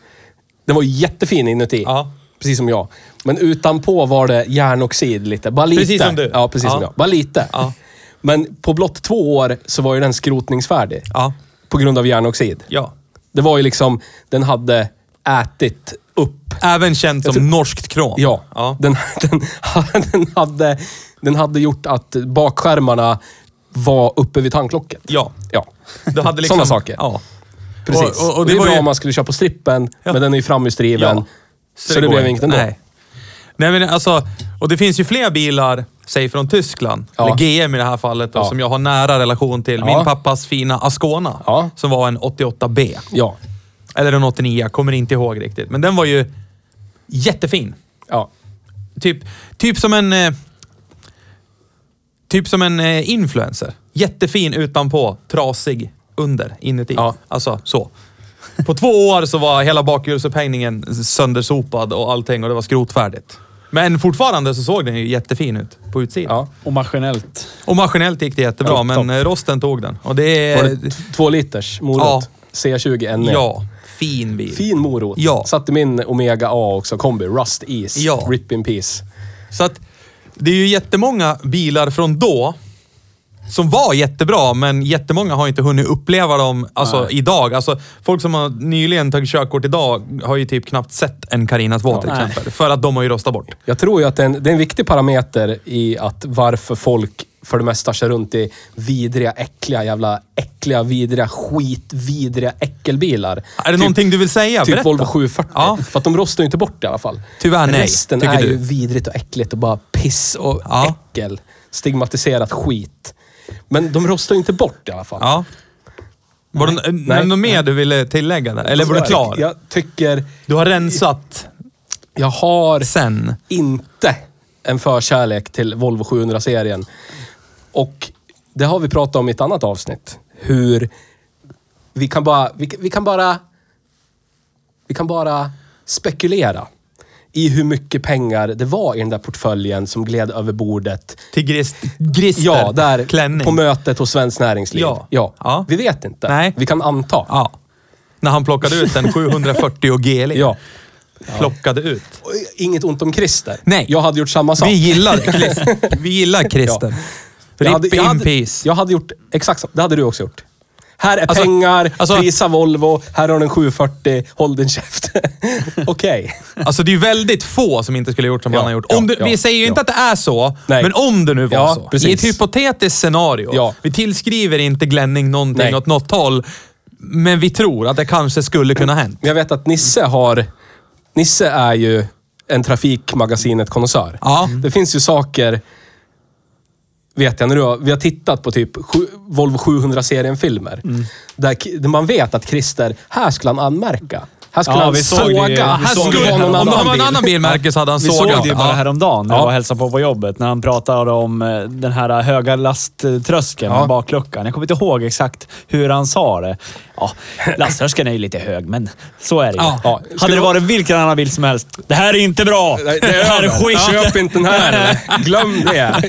Speaker 1: Den var ju jättefin inuti.
Speaker 2: Ja.
Speaker 1: Precis som jag. Men utanpå var det järnoxid lite. Bara lite.
Speaker 2: Precis som du.
Speaker 1: Ja, precis
Speaker 2: Ja.
Speaker 1: som jag. Bara lite.
Speaker 2: Ja.
Speaker 1: Men på blott två år så var ju den skrotningsfärdig.
Speaker 2: Ja.
Speaker 1: På grund av järnoxid.
Speaker 2: Ja.
Speaker 1: Det var ju liksom, den hade ätit upp.
Speaker 2: Även känt som
Speaker 1: tror-
Speaker 2: norskt krom.
Speaker 1: Ja,
Speaker 2: ja.
Speaker 1: Den, den, den, hade, den hade gjort att bakskärmarna var uppe vid tandlocket.
Speaker 2: Ja.
Speaker 1: ja.
Speaker 2: Du hade liksom,
Speaker 1: Såna saker.
Speaker 2: Ja.
Speaker 1: Precis.
Speaker 2: Och-
Speaker 1: Och,
Speaker 2: och- och
Speaker 1: det,
Speaker 2: det
Speaker 1: är
Speaker 2: var
Speaker 1: bra
Speaker 2: ju-
Speaker 1: om man skulle köra på strippen,
Speaker 2: Ja.
Speaker 1: men den är ju framhjulsdriven.
Speaker 2: Ja.
Speaker 1: Så, det
Speaker 2: går
Speaker 1: blev
Speaker 2: inte.
Speaker 1: inget ändå.
Speaker 2: Nej. Nej men alltså, Och det finns ju fler bilar, säg från Tyskland,
Speaker 1: Ja.
Speaker 2: eller GM i det här fallet, då,
Speaker 1: Ja.
Speaker 2: som jag har nära relation till.
Speaker 1: Ja.
Speaker 2: Min pappas fina Ascona,
Speaker 1: Ja.
Speaker 2: som var en 88B.
Speaker 1: Ja.
Speaker 2: Eller en 89, jag kommer inte ihåg riktigt. Men den var ju jättefin.
Speaker 1: Ja.
Speaker 2: Typ, typ som en... Eh, typ som en eh, influencer. Jättefin utanpå, trasig under, inuti.
Speaker 1: Ja.
Speaker 2: Alltså så. På två år så var hela bakhjulsupphängningen söndersopad och allting och det var skrotfärdigt. Men fortfarande så såg den ju jättefin ut på utsidan.
Speaker 1: ja.
Speaker 3: Och maskinellt.
Speaker 2: Och maskinellt gick det jättebra,
Speaker 1: Ja,
Speaker 2: men
Speaker 1: topp.
Speaker 2: eh, rosten tog den. Och Eh, det
Speaker 1: Var
Speaker 2: är...
Speaker 1: det t- två liters morot? C20 NE.
Speaker 2: Ja, fin bil.
Speaker 1: Fin morot.
Speaker 2: Ja.
Speaker 1: Satte min Omega A också, kombi. Rust Ease.
Speaker 2: Ja.
Speaker 1: Rip in peace.
Speaker 2: Så att det är ju jättemånga bilar från då som var jättebra, men jättemånga har inte hunnit uppleva dem alltså, idag. Alltså, folk som har nyligen tagit körkort idag har ju typ knappt sett en Carina 2 till
Speaker 1: Ja.
Speaker 2: exempel. För att de har ju röstat bort.
Speaker 1: Jag tror ju att det är, en, det är en viktig parameter i att varför folk för det mesta kör runt i vidriga, äckliga, jävla äckliga, vidriga, skitvidriga äckelbilar.
Speaker 2: Är det någonting du vill säga?
Speaker 1: Typ
Speaker 2: Berätta.
Speaker 1: Volvo 740.
Speaker 2: Ja.
Speaker 1: För att de rostar ju inte bort i alla fall.
Speaker 2: Tyvärr nej,
Speaker 1: Resten
Speaker 2: tycker
Speaker 1: är
Speaker 2: du.
Speaker 1: ju vidrigt och äckligt och bara piss och
Speaker 2: Ja.
Speaker 1: äckel. Stigmatiserat skit. Men de rostar ju inte bort i alla fall.
Speaker 2: Ja. Var det
Speaker 1: Nej. Alltså,
Speaker 2: något mer du ville tillägga där? Eller var du
Speaker 1: Jag tyck-
Speaker 2: klar?
Speaker 1: Jag tycker...
Speaker 2: Du har rensat
Speaker 1: Jag har
Speaker 2: sen.
Speaker 1: inte en förkärlek till Volvo 700-serien. Och det har vi pratat om i ett annat avsnitt. Hur vi kan bara... Vi, vi kan bara... Vi kan bara spekulera i hur mycket pengar det var i den där portföljen som gled över bordet.
Speaker 2: Till gris, grister.
Speaker 1: Ja, där
Speaker 2: Klänning.
Speaker 1: på mötet hos Svenskt Näringsliv.
Speaker 2: Ja.
Speaker 1: Ja.
Speaker 2: Ja.
Speaker 1: Vi vet inte.
Speaker 2: Nej.
Speaker 1: Vi kan anta.
Speaker 2: Ja. När han plockade ut en 740 GLI.
Speaker 1: Ja.
Speaker 2: Plockade ut.
Speaker 1: Och Inget ont om Christer.
Speaker 2: Nej.
Speaker 1: Jag hade gjort samma sak.
Speaker 2: Vi gillar, Chris- vi gillar Christer. Rip
Speaker 1: Jag hade,
Speaker 2: in
Speaker 1: jag hade,
Speaker 2: peace.
Speaker 1: Jag hade gjort exakt så. Det hade du också gjort. Här är
Speaker 2: Alltså,
Speaker 1: pengar,
Speaker 2: alltså-
Speaker 1: prisa Volvo, här har du en 740, håll din käft. Okej.
Speaker 2: Alltså det är ju väldigt få som inte skulle ha gjort som
Speaker 1: Ja,
Speaker 2: han har gjort.
Speaker 1: ja,
Speaker 2: Om du,
Speaker 1: ja,
Speaker 2: vi säger ju
Speaker 1: ja.
Speaker 2: inte att det är så,
Speaker 1: Nej.
Speaker 2: men om det nu var
Speaker 1: Ja,
Speaker 2: så. I ett
Speaker 1: precis.
Speaker 2: hypotetiskt scenario.
Speaker 1: Ja.
Speaker 2: Vi tillskriver inte Glenning någonting
Speaker 1: Nej.
Speaker 2: åt något håll, men vi tror att det kanske skulle kunna ha hänt.
Speaker 1: Men jag vet att Nisse har... Nisse är ju en Trafikmagasinet-konnässör.
Speaker 2: Ja.
Speaker 1: Det finns ju saker... Vet jag, när du har, vi har tittat på typ sju, Volvo 700-serien-filmer.
Speaker 2: Mm.
Speaker 1: Där, ki- där man vet att Christer, här skulle han anmärka. Här skulle
Speaker 3: Ja,
Speaker 1: han
Speaker 3: vi såg det ju.
Speaker 1: såga.
Speaker 3: Vi
Speaker 1: här
Speaker 3: såg
Speaker 1: skulle
Speaker 3: det
Speaker 1: det
Speaker 3: här
Speaker 1: vara
Speaker 2: om
Speaker 1: någon
Speaker 2: det
Speaker 1: annan
Speaker 2: var en
Speaker 1: bil.
Speaker 2: annan bilmärke så hade han
Speaker 1: Vi såg
Speaker 2: sågat.
Speaker 3: såg det ju bara häromdagen när jag var och hälsade på på jobbet. När han pratade om eh, den här höga lasttröskeln med bakluckan. Jag kommer inte ihåg exakt hur han sa det. Ja, lasttröskeln är ju lite hög, men så är det ju.
Speaker 2: Ja.
Speaker 1: Ja.
Speaker 3: Hade det varit vilken annan bil som helst. Det här är inte bra!
Speaker 1: Nej, Det är över. Köp inte den här. Glöm det.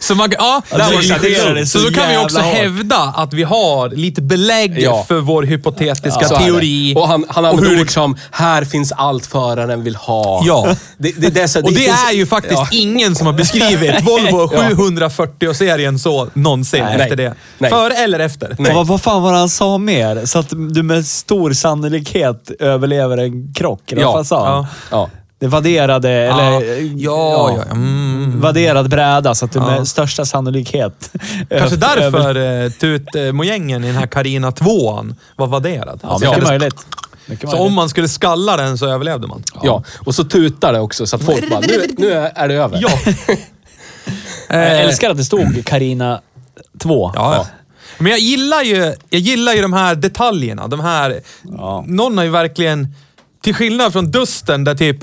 Speaker 2: Så, man, ja, där
Speaker 3: det
Speaker 2: var det
Speaker 3: negligerar det
Speaker 2: så,
Speaker 3: så
Speaker 2: då kan vi
Speaker 3: jävla
Speaker 2: också
Speaker 3: hårt.
Speaker 2: hävda att vi har lite belägg
Speaker 1: Ja.
Speaker 2: för vår hypotetiska
Speaker 1: Så är det.
Speaker 2: teori.
Speaker 1: Och han, han
Speaker 2: och
Speaker 1: använder
Speaker 2: hur det
Speaker 1: ord som “här finns allt föraren vill ha”.
Speaker 2: Ja.
Speaker 1: Det, det, det, är så-
Speaker 2: Och det
Speaker 1: finns-
Speaker 2: är ju faktiskt
Speaker 1: Ja.
Speaker 2: ingen som har beskrivit Volvo 740-serien så någonsin
Speaker 1: Nej.
Speaker 2: efter det.
Speaker 1: Nej.
Speaker 2: Före eller efter.
Speaker 3: Och vad, vad fan var det han sa mer? Så att du med stor sannolikhet överlever en krock. eller vad
Speaker 1: Ja.
Speaker 3: fan sa han?
Speaker 2: Ja.
Speaker 1: Ja.
Speaker 3: Det vadderade, eller... eh,
Speaker 2: Ja, ja, ja. Mm.
Speaker 3: Vadderad bräda, så att du
Speaker 2: Ja.
Speaker 3: med största sannolikhet...
Speaker 2: Kanske
Speaker 3: ö- över-
Speaker 2: därför eh, tutmojängen i den här Carina 2 var vadderad.
Speaker 3: Ja,
Speaker 2: det
Speaker 3: mycket
Speaker 2: kändes-
Speaker 3: möjligt. Mycket
Speaker 2: så
Speaker 3: möjligt.
Speaker 2: om man skulle skalla den så överlevde man.
Speaker 1: ja. Och så tutar det också så att folk bara “nu, nu är det över”.
Speaker 2: Ja.
Speaker 3: Jag älskar att det stod Karina 2.
Speaker 2: Eh. Ja, ja.
Speaker 1: Ja.
Speaker 2: Men jag gillar, ju, jag gillar ju de här detaljerna. De här,
Speaker 3: Ja.
Speaker 2: Någon har ju verkligen, till skillnad från Dusten där typ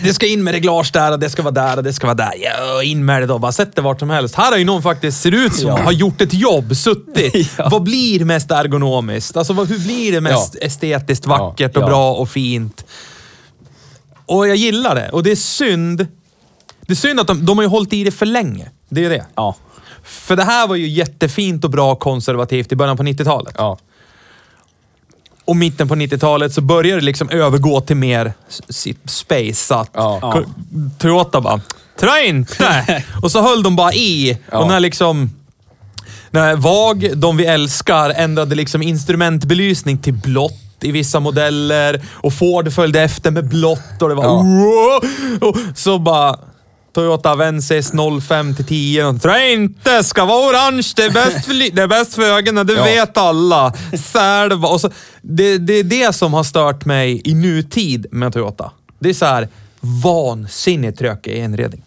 Speaker 2: det ska in med reglage där och det ska vara där och det ska vara där. Ja, in med det då. Bara sätt det vart som helst. Här har ju någon faktiskt, ser ut som, har gjort ett jobb, suttit. Vad blir mest ergonomiskt? Alltså vad, hur blir det mest estetiskt vackert och
Speaker 1: ja.
Speaker 2: bra och fint? Och jag gillar det. Och det är synd. Det är synd att de, de har ju hållit i det för länge. Det är ju det.
Speaker 3: Ja.
Speaker 2: För det här var ju jättefint och bra konservativt i början på 90-talet.
Speaker 1: Ja.
Speaker 2: Och mitten på 90-talet så började det liksom övergå till mer s- sitt spaceat.
Speaker 1: Ja.
Speaker 2: Ko- Toyota bara, trä inte! och så höll de bara i. Och
Speaker 1: Ja.
Speaker 2: när liksom... När VAG, de vi älskar, ändrade liksom instrumentbelysning till blått i vissa modeller och Ford följde efter med blått och det var...
Speaker 1: Ja.
Speaker 2: "Wow!" Och så bara... Toyota Avensis 05 till 10. och Trä inte! Ska vara orange. Det är bäst för, li- det är bäst för ögonen. Det
Speaker 1: Ja.
Speaker 2: vet alla. Sälva. Och så, det, det är det som har stört mig i nutid med Toyota. Det är så här. vansinnigt tråkig inredning.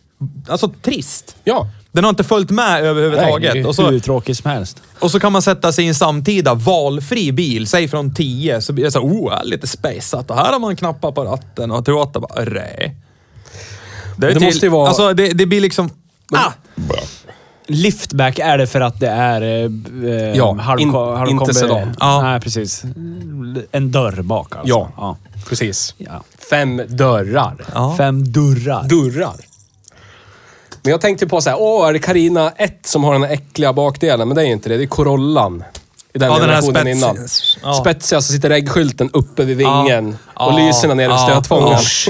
Speaker 2: Alltså trist.
Speaker 1: Ja.
Speaker 2: Den har inte följt med överhuvudtaget.
Speaker 3: Nej,
Speaker 2: och, så,
Speaker 3: Hur tråkigt som helst.
Speaker 2: och så kan man sätta sig i en samtida valfri bil, säg från 10, så blir det så här, oh, här är lite spaceat och här har man knappar på ratten och Toyota bara, nej. är
Speaker 1: Det måste ju vara-
Speaker 2: Alltså det, det blir liksom... Ah,
Speaker 3: Liftback är det för att det är eh,
Speaker 1: Ja,
Speaker 3: halv,
Speaker 1: in-
Speaker 3: halv,
Speaker 1: inte sedan.
Speaker 2: Ja.
Speaker 3: Nej, precis. En dörr bak alltså.
Speaker 1: Ja.
Speaker 3: ja.
Speaker 1: Precis.
Speaker 3: Ja.
Speaker 1: Fem dörrar.
Speaker 2: Ja.
Speaker 3: Fem dörrar.
Speaker 1: Dörrar. Men jag tänkte på så här, åh, är det Carina 1 som har den här äckliga bakdelen? Men det är ju inte det. Det är Corollan. I den
Speaker 2: Ja, den här
Speaker 1: generationen innan.
Speaker 2: spets- ja.
Speaker 1: Spetsiga, så sitter äggskylten uppe vid vingen.
Speaker 2: Ja.
Speaker 1: Och
Speaker 2: Ja.
Speaker 1: lyserna nere vid
Speaker 2: Ja.
Speaker 1: stötfångaren.
Speaker 2: Usch.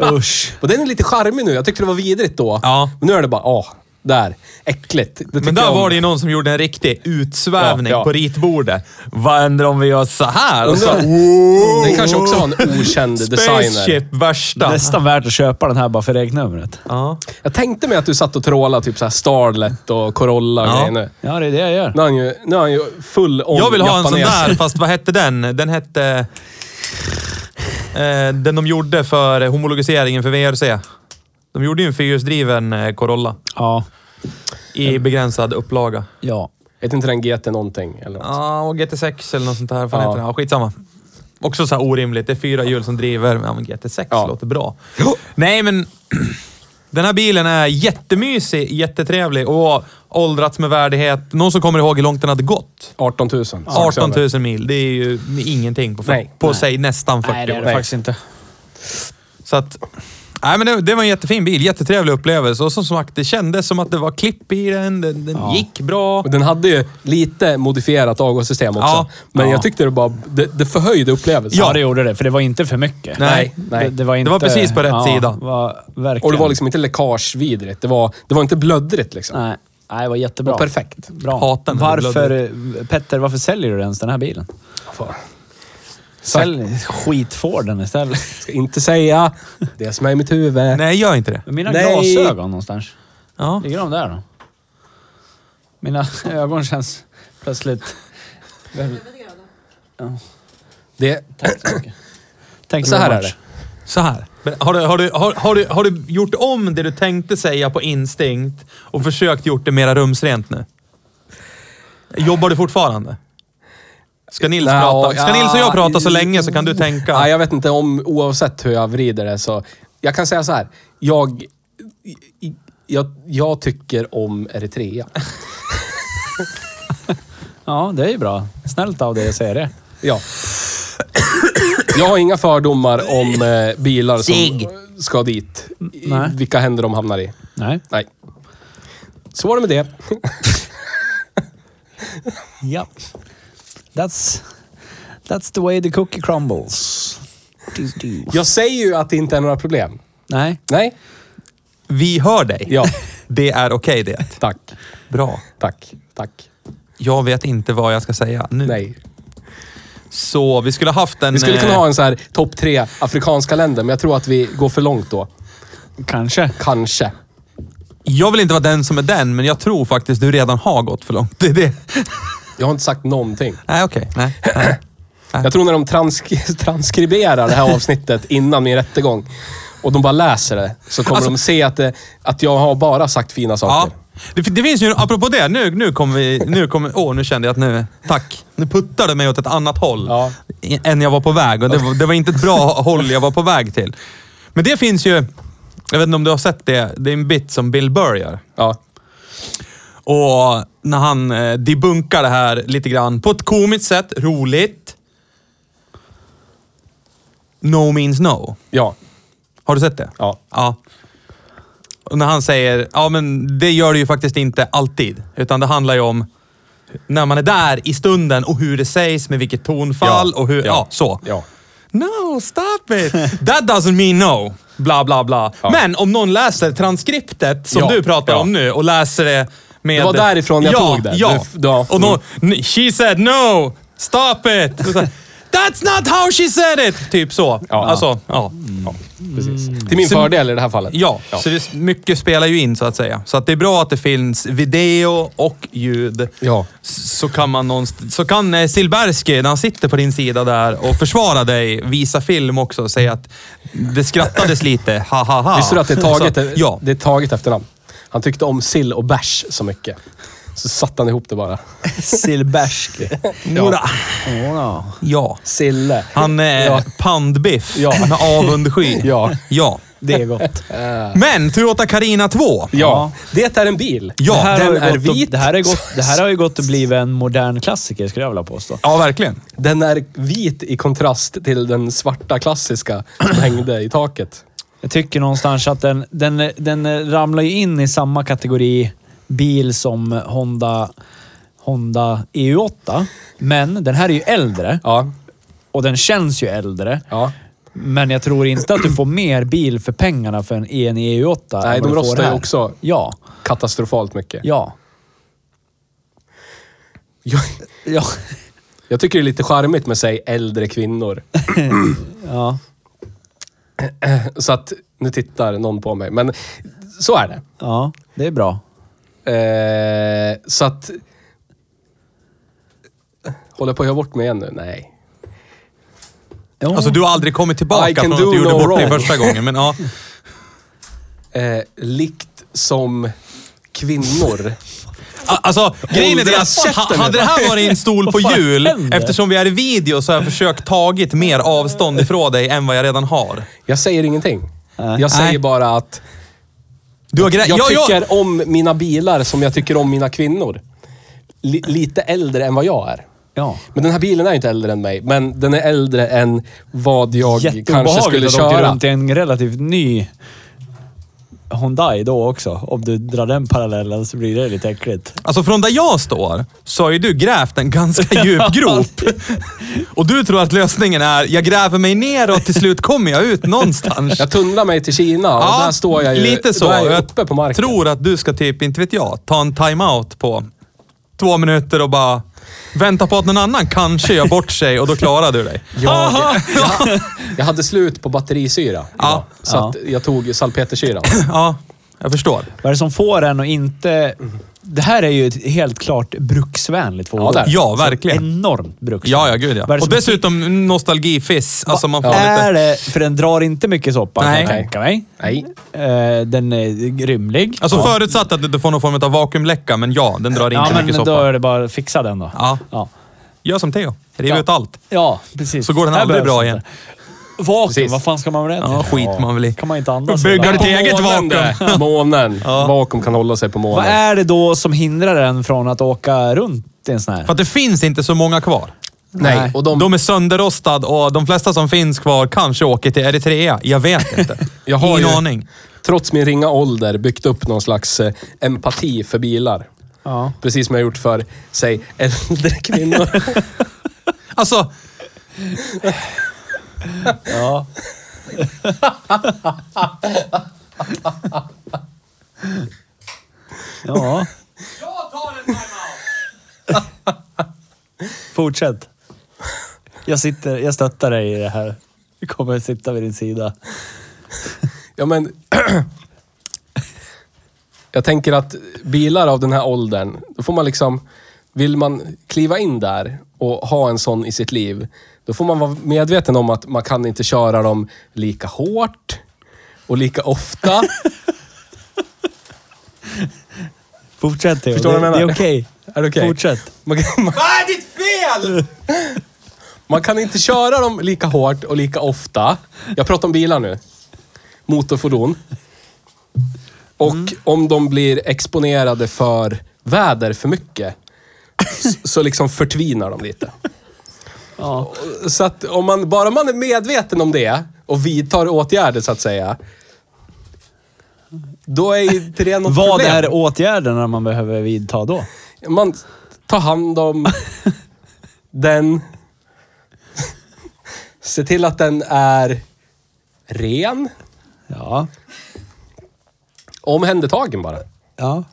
Speaker 3: Usch.
Speaker 1: Och den är lite charmig nu. Jag tyckte det var vidrigt då.
Speaker 2: Ja.
Speaker 1: Men nu är det bara, åh, där. Äckligt. Det tycker
Speaker 2: Men där
Speaker 1: jag om.
Speaker 2: var det ju någon som gjorde en riktig utsvävning
Speaker 1: Ja, ja.
Speaker 2: på ritbordet. Vad händer om vi gör så här? Och så,
Speaker 1: Undrar- Den kanske också var en okänd designer.
Speaker 2: spaceship, värsta.
Speaker 3: Nästan värt att köpa den här bara för regnumret.
Speaker 2: Ja.
Speaker 1: Jag tänkte mig att du satt och trålade typ så här Starlet och Corolla och
Speaker 2: Ja.
Speaker 1: grejer nu.
Speaker 3: Ja, det är det jag gör.
Speaker 1: Nu är han ju, nu är han ju full on
Speaker 2: Jag vill ha en sån
Speaker 1: japanes.
Speaker 2: där, fast vad hette den? Den hette... Eh, den de gjorde för homologiseringen för VRC. De gjorde ju en fyrhjulsdriven eh, Corolla
Speaker 3: Ja.
Speaker 2: i begränsad upplaga.
Speaker 3: Ja.
Speaker 1: Heter inte den GT någonting? Eller något?
Speaker 2: Ja, och GT6 eller något sånt där. Fan
Speaker 1: Ja.
Speaker 2: heter den? Ja, skitsamma. Också så här orimligt. Det är fyra hjul som driver. Ja, men GT6
Speaker 1: Ja.
Speaker 2: låter bra. Nej, men den här bilen är jättemysig, jättetrevlig och åldrats med värdighet. Någon som kommer ihåg hur långt den hade gått.
Speaker 1: 18 000.
Speaker 2: 18 000 mil. Det är ju ingenting på,
Speaker 1: Nej.
Speaker 2: på sig nästan 40
Speaker 3: Nej, det är
Speaker 2: år.
Speaker 3: det faktiskt inte.
Speaker 2: Så att... Nej, men det, det var en jättefin bil. Jättetrevlig upplevelse. Och som sagt, det kändes som att det var klipp i den. Den, den gick bra.
Speaker 1: Och Den hade ju lite modifierat avgassystem också.
Speaker 2: Ja.
Speaker 1: Men
Speaker 3: Ja.
Speaker 1: jag tyckte det bara... Det, det förhöjde upplevelsen.
Speaker 3: Ja, det gjorde det. För det var inte för mycket.
Speaker 2: Nej,
Speaker 1: nej.
Speaker 3: Det, det, var, inte,
Speaker 2: Det var precis på rätt sida.
Speaker 3: Var, verkligen.
Speaker 1: Och det var liksom inte läckagevidrigt. Det var, det var inte blöddrigt liksom.
Speaker 3: Nej. Nej, det var jättebra.
Speaker 1: Det var perfekt.
Speaker 3: Bra.
Speaker 2: Hatar när det
Speaker 3: varför, Petter, varför säljer du ens den här bilen?
Speaker 1: Fan.
Speaker 3: Sälj skitforden istället.
Speaker 1: Ska inte säga det som är i mitt huvud.
Speaker 2: Nej, gör inte det.
Speaker 3: Mina
Speaker 1: Nej.
Speaker 3: glasögon någonstans.
Speaker 2: Ja.
Speaker 3: Ligger de där då? Mina ögon känns plötsligt...
Speaker 4: levererade.
Speaker 1: Det,
Speaker 3: Tänk
Speaker 1: så här är det.
Speaker 2: Så här. Men har, du, har, du, har, har, du, har du gjort om det du tänkte säga på instinkt och försökt gjort det mera rumsrent nu? Jobbar du fortfarande? Ska Nils,
Speaker 1: Nja,
Speaker 2: prata? Ska
Speaker 1: ja,
Speaker 2: Nils och jag prata så
Speaker 1: i-
Speaker 2: länge så kan du tänka?
Speaker 1: Ja, jag vet inte om, oavsett hur jag vrider det så. Jag kan säga så här. Jag, i- i- jag, jag tycker om Eritrea.
Speaker 3: Ja, det är ju bra. Snällt av dig att säga det.
Speaker 1: Ja. Jag har inga fördomar om eh, bilar
Speaker 2: Sig.
Speaker 1: som ska dit. I,
Speaker 3: Nej.
Speaker 1: vilka händer de hamnar i.
Speaker 3: Nej.
Speaker 1: Nej. Så var det med det.
Speaker 3: Ja. That's, that's the way the cookie crumbles. Do, do.
Speaker 1: Jag säger ju att det inte är några problem.
Speaker 3: Nej.
Speaker 1: Nej?
Speaker 2: Vi hör dig.
Speaker 1: Ja.
Speaker 2: Det är okej det.
Speaker 1: Tack.
Speaker 2: Bra.
Speaker 1: Tack. Tack.
Speaker 2: Jag vet inte vad jag ska säga nu.
Speaker 1: Nej.
Speaker 2: Så vi skulle haft en...
Speaker 1: Vi skulle kunna
Speaker 2: eh,
Speaker 1: ha en så här topp tre afrikanska länder, men jag tror att vi går för långt då.
Speaker 3: Kanske.
Speaker 1: Kanske.
Speaker 2: Jag vill inte vara den som är den, men jag tror faktiskt du redan har gått för långt. Det är det.
Speaker 1: Jag har inte sagt någonting.
Speaker 2: Nej, okej. Nej.
Speaker 1: Jag tror när de transk- transkriberar det här avsnittet innan min rättegång och de bara läser det, så kommer
Speaker 2: Alltså-
Speaker 1: de se att, det, att jag har bara sagt fina
Speaker 2: Ja.
Speaker 1: saker.
Speaker 2: Det, det finns ju, apropå det, nu, nu kommer vi... Nu kommer, åh, nu kände jag att nu... Tack. Nu puttar du mig åt ett annat håll
Speaker 1: Ja.
Speaker 2: i- än jag var på väg. Och det, var- det var inte ett bra håll jag var på väg till. Men det finns ju... Jag vet inte om du har sett det. Det är en bit som Bill Burr gör.
Speaker 1: Ja.
Speaker 2: Och när han eh, debunkar det här lite grann på ett komiskt sätt, roligt. No means no.
Speaker 1: Ja.
Speaker 2: Har du sett det?
Speaker 1: Ja.
Speaker 2: ja. Och när han säger, ja men det gör det ju faktiskt inte alltid. Utan det handlar ju om när man är där i stunden och hur det sägs, med vilket tonfall
Speaker 1: Ja.
Speaker 2: och hur, ja,
Speaker 1: Ja.
Speaker 2: så.
Speaker 1: Ja.
Speaker 2: No, stop it! That doesn't mean no. Bla, bla, bla.
Speaker 1: Ja.
Speaker 2: Men om någon läser transkriptet som
Speaker 1: Ja,
Speaker 2: du pratar
Speaker 1: ja.
Speaker 2: om nu och läser det med...
Speaker 1: Det var därifrån jag
Speaker 2: ja,
Speaker 1: tog det.
Speaker 2: Ja,
Speaker 1: Du- mm. ja.
Speaker 2: Och någon, she said no, stop it. Så, så här, That
Speaker 5: That's not how she said it! Typ så.
Speaker 1: Ja. Mm.
Speaker 5: Alltså, ja.
Speaker 1: Precis. Till min
Speaker 5: Så-
Speaker 1: fördel i det här fallet.
Speaker 2: Ja,
Speaker 5: Så det, mycket spelar ju in så att säga. Så att det är bra att det finns video och ljud.
Speaker 1: Ja.
Speaker 2: S- Så kan, man någonst- så kan eh, Silbersky, när han sitter på din sida där och försvarar dig, visa film också och säga att det skrattades lite. Ha, ha, ha.
Speaker 1: Visste du att det är taget,
Speaker 2: Så, ja.
Speaker 1: det är taget efternamn? Han tyckte om sill och bärs så mycket. Så satte han ihop det bara.
Speaker 3: Silbersk.
Speaker 2: Ja.
Speaker 3: Åh,
Speaker 2: ja.
Speaker 1: Sille.
Speaker 2: Han är
Speaker 1: Ja.
Speaker 2: pandbiff
Speaker 1: Ja.
Speaker 2: med avundsky.
Speaker 1: Ja.
Speaker 2: ja.
Speaker 3: Det är gott.
Speaker 2: Men Toyota Carina 2.
Speaker 1: Ja. Det är en bil.
Speaker 2: Ja,
Speaker 3: det här
Speaker 1: den
Speaker 3: har ju
Speaker 1: är
Speaker 3: gått och-
Speaker 1: vit.
Speaker 3: Det här, är gott, det här har ju gått att bli en modern klassiker skulle jag vilja påstå.
Speaker 2: Ja, verkligen.
Speaker 1: Den är vit i kontrast till den svarta klassiska som hängde i taket.
Speaker 3: Jag tycker någonstans att den, den, den ramlar ju in i samma kategori bil som Honda, Honda EU8. Men den här är ju äldre
Speaker 1: Ja.
Speaker 3: och den känns ju äldre.
Speaker 1: ja.
Speaker 3: Men jag tror inte att du får mer bil för pengarna för en E en EU8.
Speaker 1: Nej, de
Speaker 3: än vad du får
Speaker 1: rostar ju
Speaker 3: här.
Speaker 1: också
Speaker 3: Ja,
Speaker 1: katastrofalt mycket.
Speaker 3: ja,
Speaker 1: Jag,
Speaker 3: ja.
Speaker 1: jag tycker det är lite charmigt med, säg, äldre kvinnor.
Speaker 3: ja.
Speaker 1: Så att, nu tittar någon på mig, men så är det.
Speaker 3: Ja, det är bra.
Speaker 1: Eh, så att... Håller jag på att göra bort mig igen nu? Nej.
Speaker 3: Jo.
Speaker 2: Alltså, du har aldrig kommit
Speaker 1: I
Speaker 2: tillbaka
Speaker 1: can
Speaker 2: från att
Speaker 1: do
Speaker 2: du gjorde
Speaker 1: no
Speaker 2: bort dig
Speaker 1: wrong.
Speaker 2: första gången. Men, ja.
Speaker 1: Eh, likt som kvinnor.
Speaker 2: A- Alltså, grejen är det
Speaker 1: Håll
Speaker 2: att
Speaker 1: Oh, käften nu.
Speaker 2: ha- hade det här varit en stol på
Speaker 3: Vad fan
Speaker 2: jul,
Speaker 3: händer?
Speaker 2: eftersom vi är i video så har jag försökt tagit mer avstånd ifrån dig än vad jag redan har.
Speaker 1: Jag säger ingenting.
Speaker 3: Nej.
Speaker 1: Jag säger
Speaker 2: Nej.
Speaker 1: bara att
Speaker 2: Du har grä-
Speaker 1: jag
Speaker 2: ja, ja.
Speaker 1: tycker om mina bilar som jag tycker om mina kvinnor. Li- lite äldre än vad jag är.
Speaker 3: Ja.
Speaker 1: Men den här bilen är ju inte äldre än mig, men den är äldre än vad jag kanske
Speaker 3: Jätteobehagligt
Speaker 1: skulle
Speaker 3: att åka
Speaker 1: köra.
Speaker 3: runt i en relativt ny Hyundai då också. Om du drar den parallellen så blir det lite äckligt.
Speaker 2: Alltså från där jag står så har ju du grävt en ganska djup grop. Och du tror att lösningen är, jag gräver mig ner och till slut kommer jag ut någonstans.
Speaker 1: Jag tunnlar mig till Kina och där står jag ju
Speaker 2: lite så.
Speaker 1: Då är jag
Speaker 2: Jag
Speaker 1: uppe på marken.
Speaker 2: tror att du ska typ, inte vet jag, ta en time-out på två minuter och bara vänta på att någon annan kanske gör bort sig och då klarar du dig.
Speaker 1: Jag, jag, jag hade slut på batterisyra. idag,
Speaker 2: Ja.
Speaker 1: Så att jag tog salpetersyran.
Speaker 2: Ja, jag förstår.
Speaker 3: Vad är det som får en att inte... Det här är ju ett helt klart bruksvänligt fordon. Alltså,
Speaker 1: det är det.
Speaker 2: Ja, verkligen.
Speaker 3: Enormt bruksvänligt.
Speaker 2: Ja, ja,
Speaker 3: Vad
Speaker 2: gud
Speaker 3: är
Speaker 2: ja.
Speaker 3: det
Speaker 2: Och
Speaker 3: som-
Speaker 2: dessutom nostalgifiss. Alltså man får
Speaker 3: Vad
Speaker 2: lite...
Speaker 3: är det? För den drar inte mycket soppa
Speaker 2: Nej.
Speaker 3: kan jag tänka mig.
Speaker 1: Nej.
Speaker 3: Eh, Den är rymlig.
Speaker 2: Alltså förutsatt att du inte får någon form av vakuumläcka, men ja, den drar inte
Speaker 3: ja, men
Speaker 2: mycket
Speaker 3: då
Speaker 2: soppa.
Speaker 3: är det bara att fixa den då.
Speaker 2: Ja.
Speaker 3: ja.
Speaker 2: Gör som Theo. Riv
Speaker 3: Ja.
Speaker 2: ut allt.
Speaker 3: Ja, precis.
Speaker 2: Så går den
Speaker 3: Här
Speaker 2: aldrig
Speaker 3: behövs
Speaker 2: bra
Speaker 3: det.
Speaker 2: igen.
Speaker 3: Vakuum,
Speaker 1: Precis.
Speaker 3: vad fan ska man med det till?
Speaker 2: Ja, skit man väl i.
Speaker 3: kan man inte andas.
Speaker 2: Bygga
Speaker 3: hela
Speaker 2: det
Speaker 3: dagen.
Speaker 2: till-
Speaker 1: Månen,
Speaker 2: eget vakuum.
Speaker 1: det. Månen. Vakuum kan hålla sig på
Speaker 3: Vad
Speaker 1: månen.
Speaker 3: är det då som hindrar den från att åka runt i en sån här?
Speaker 2: För att det finns inte så många kvar.
Speaker 1: Nej, och de,
Speaker 2: De är sönderrostad och de flesta som finns kvar kanske åker till Eritrea. Jag vet inte.
Speaker 1: Jag har
Speaker 2: Ingen
Speaker 1: ju-
Speaker 2: aning.
Speaker 1: trots min ringa ålder, byggt upp någon slags eh, empati för bilar.
Speaker 3: Ja.
Speaker 1: Precis som jag gjort för, säg, äldre kvinnor.
Speaker 2: Alltså,
Speaker 3: ja. ja. Fortsätt. Jag, sitter, jag stöttar dig i det här. Jag kommer att sitta vid din sida.
Speaker 1: Ja, men... Jag tänker att bilar av den här åldern, då får man liksom... Vill man kliva in där och ha en sån i sitt liv, då får man vara medveten om att man kan inte köra dem lika hårt och lika ofta.
Speaker 3: Fortsätt Theo.
Speaker 1: Förstår du vad jag
Speaker 3: det,
Speaker 1: menar?
Speaker 3: det är okej.
Speaker 1: Är det okej?
Speaker 3: Fortsätt.
Speaker 1: Man kan, man,
Speaker 2: Vad är ditt fel?
Speaker 1: man kan inte köra dem lika hårt och lika ofta. Jag pratar om bilar nu. Motorfordon. Och om de blir exponerade för väder för mycket, s- så liksom förtvinar de lite.
Speaker 3: Ja.
Speaker 1: Så att om man, bara man är medveten om det och vidtar åtgärder så att säga. Då är ju inte det något
Speaker 3: Vad
Speaker 1: problem.
Speaker 3: är åtgärderna man behöver vidta då?
Speaker 1: Man tar hand om den. Se till att den är ren.
Speaker 3: Ja.
Speaker 1: Omhändertagen bara.
Speaker 3: Ja.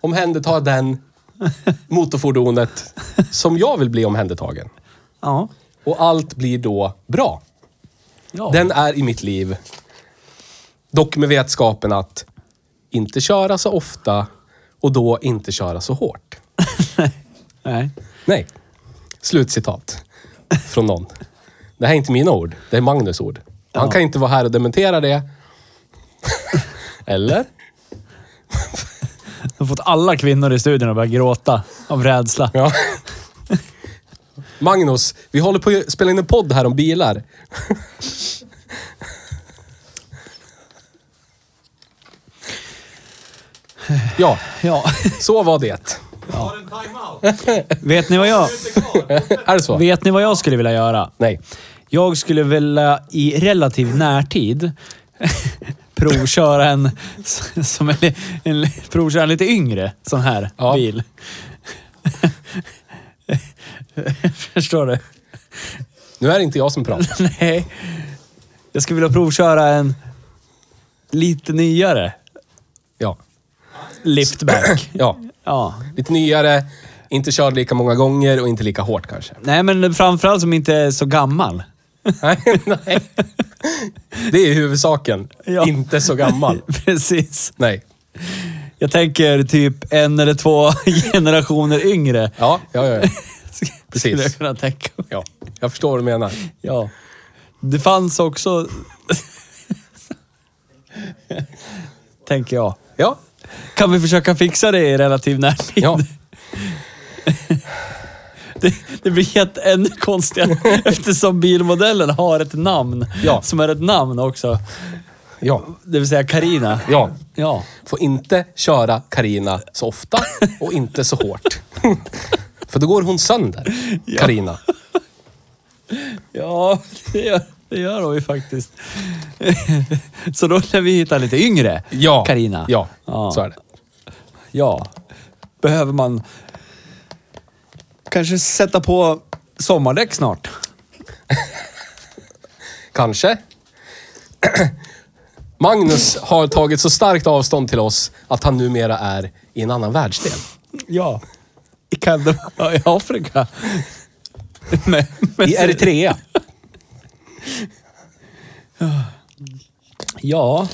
Speaker 1: Omhänderta den motorfordonet som jag vill bli omhändertagen.
Speaker 3: Ja.
Speaker 1: Och allt blir då bra.
Speaker 3: ja.
Speaker 1: Den är i mitt liv. Dock med vetskapen att inte köra så ofta och då inte köra så hårt.
Speaker 3: Nej.
Speaker 1: Nej. Slutcitat. Från någon. Det här är inte mina ord. Det är Magnus ord. Han
Speaker 3: Ja.
Speaker 1: kan inte vara här och dementera det. Eller?
Speaker 3: Jag har fått alla kvinnor i studion att börja gråta av rädsla.
Speaker 1: Ja. Magnus, vi håller på att spela in en podd här om bilar. Ja,
Speaker 3: Ja.
Speaker 1: så var det.
Speaker 2: Har en timeout.
Speaker 3: Vet ni vad jag...
Speaker 1: Är det så?
Speaker 3: Vet ni vad jag skulle vilja göra?
Speaker 1: Nej.
Speaker 3: Jag skulle vilja i relativ närtid provköra en, som en, en, provköra en lite yngre sån här
Speaker 1: Ja.
Speaker 3: bil. Förstår du?
Speaker 1: Nu är det inte jag som pratar.
Speaker 3: Nej. Jag skulle vilja provköra en lite nyare
Speaker 1: Ja.
Speaker 3: liftback.
Speaker 1: ja.
Speaker 3: Ja.
Speaker 1: Lite nyare, inte körd lika många gånger och inte lika hårt kanske.
Speaker 3: Nej, men framförallt som inte är så gammal.
Speaker 1: Nej, nej. Det är huvudsaken.
Speaker 3: Ja.
Speaker 1: Inte så gammal.
Speaker 3: Precis.
Speaker 1: Nej.
Speaker 3: Jag tänker typ en eller två generationer yngre.
Speaker 1: Ja, ja, ja. ja.
Speaker 3: Skulle jag
Speaker 1: Precis.
Speaker 3: kunna tänka mig.
Speaker 1: Ja. Jag förstår vad du menar.
Speaker 3: Ja. Det fanns också... Tänker jag.
Speaker 1: Ja,
Speaker 3: Kan vi försöka fixa det i relativ närtid?
Speaker 1: ja.
Speaker 3: Det, det blir helt ännu konstigare eftersom bilmodellen har ett namn.
Speaker 1: Ja.
Speaker 3: Som är ett namn också.
Speaker 1: Ja,
Speaker 3: Det vill säga Karina.
Speaker 1: ja.
Speaker 3: Ja.
Speaker 1: Får inte köra Karina så ofta och inte så hårt. För då går hon sönder, Karina.
Speaker 3: Ja, det gör, det gör de ju faktiskt. Så då lär vi hitta lite yngre
Speaker 1: Ja.
Speaker 3: Carina.
Speaker 1: Ja,
Speaker 3: Ja.
Speaker 1: så är det.
Speaker 3: Ja. Behöver man kanske sätta på sommardäck snart?
Speaker 1: Kanske. Magnus har tagit så starkt avstånd till oss att han numera är i en annan världsdel.
Speaker 3: Ja. I, Kanda- ja, i Afrika. Med, med
Speaker 1: I Eritrea.
Speaker 3: Ja.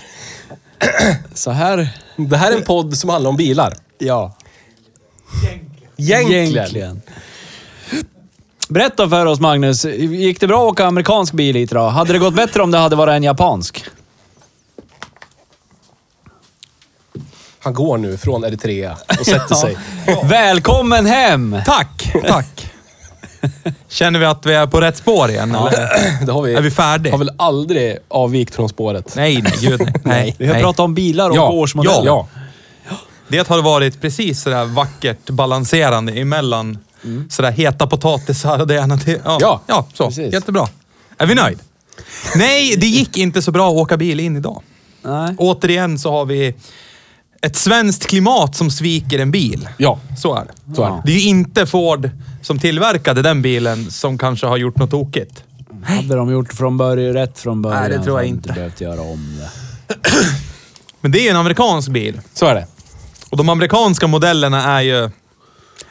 Speaker 3: Så här.
Speaker 1: Det här är en podd som handlar om bilar.
Speaker 3: Ja.
Speaker 1: Egentligen.
Speaker 3: Berätta för oss Magnus, gick det bra att åka amerikansk bil hit idag? Hade det gått bättre om det hade varit en japansk?
Speaker 1: Han går nu från Eritrea och sätter sig.
Speaker 3: Välkommen hem!
Speaker 2: Tack, tack. Känner vi att vi är på rätt spår igen? Eller?
Speaker 1: Det har vi,
Speaker 2: Är vi färdiga?
Speaker 1: har väl aldrig avvikt från spåret.
Speaker 2: Nej, nej, gud nej. nej,
Speaker 3: Vi har
Speaker 2: nej.
Speaker 3: pratat om bilar och
Speaker 1: Ja,
Speaker 3: årsmodeller.
Speaker 1: ja.
Speaker 2: Det har varit precis sådär vackert balanserande emellan sådär heta potatisar och det ena till... Ja,
Speaker 1: Ja,
Speaker 2: ja, så.
Speaker 3: precis.
Speaker 2: Jättebra. Är vi nöjd? Nej, det gick inte så bra att åka bil in idag.
Speaker 3: Nej.
Speaker 2: Återigen så har vi ett svenskt klimat som sviker en bil.
Speaker 1: Ja.
Speaker 2: Så är det.
Speaker 1: Så är det.
Speaker 2: Det är ju inte Ford som tillverkade den bilen som kanske har gjort något tokigt.
Speaker 3: Hade de gjort från början, rätt från början
Speaker 2: Nej, det tror
Speaker 3: så
Speaker 2: jag
Speaker 3: hade de
Speaker 2: inte.
Speaker 3: behövt göra om det.
Speaker 2: Men det är ju en amerikansk bil.
Speaker 1: Så är det.
Speaker 2: Och de amerikanska modellerna är ju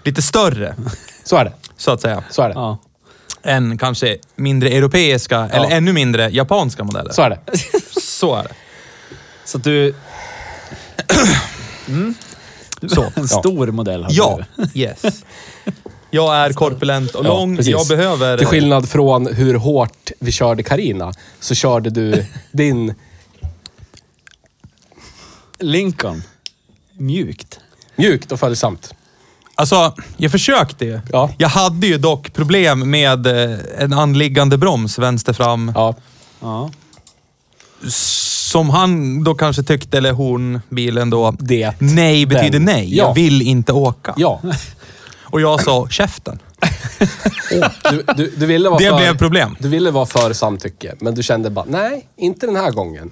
Speaker 2: lite större,
Speaker 1: Så är det.
Speaker 2: så att säga.
Speaker 1: Så är det.
Speaker 3: Ja.
Speaker 2: än kanske mindre europeiska eller ännu mindre japanska modeller.
Speaker 1: Så är det.
Speaker 2: Så är det.
Speaker 3: Så att du...
Speaker 1: Mm.
Speaker 2: Så.
Speaker 3: En stor modell hade
Speaker 2: Ja,
Speaker 3: du.
Speaker 2: yes. Jag är korpulent och
Speaker 1: Ja,
Speaker 2: lång.
Speaker 1: precis.
Speaker 2: jag behöver...
Speaker 1: Till skillnad från hur hårt vi körde Karina så körde du din
Speaker 3: Lincoln. Mjukt.
Speaker 1: mjukt och följsamt.
Speaker 2: Alltså, jag försökte ju.
Speaker 1: Ja.
Speaker 2: Jag hade ju dock problem med eh, en anliggande broms vänster fram.
Speaker 1: Ja.
Speaker 3: Ja.
Speaker 2: Som han då kanske tyckte, eller hon, bilen då.
Speaker 1: Det.
Speaker 2: Nej betyder nej.
Speaker 1: Ja.
Speaker 2: Jag vill inte åka.
Speaker 1: Ja.
Speaker 2: Och jag sa käften.
Speaker 1: Du, du, du ville vara
Speaker 2: Det
Speaker 1: för,
Speaker 2: blev problem.
Speaker 1: Du ville vara för samtycke, men du kände bara, nej, inte den här gången.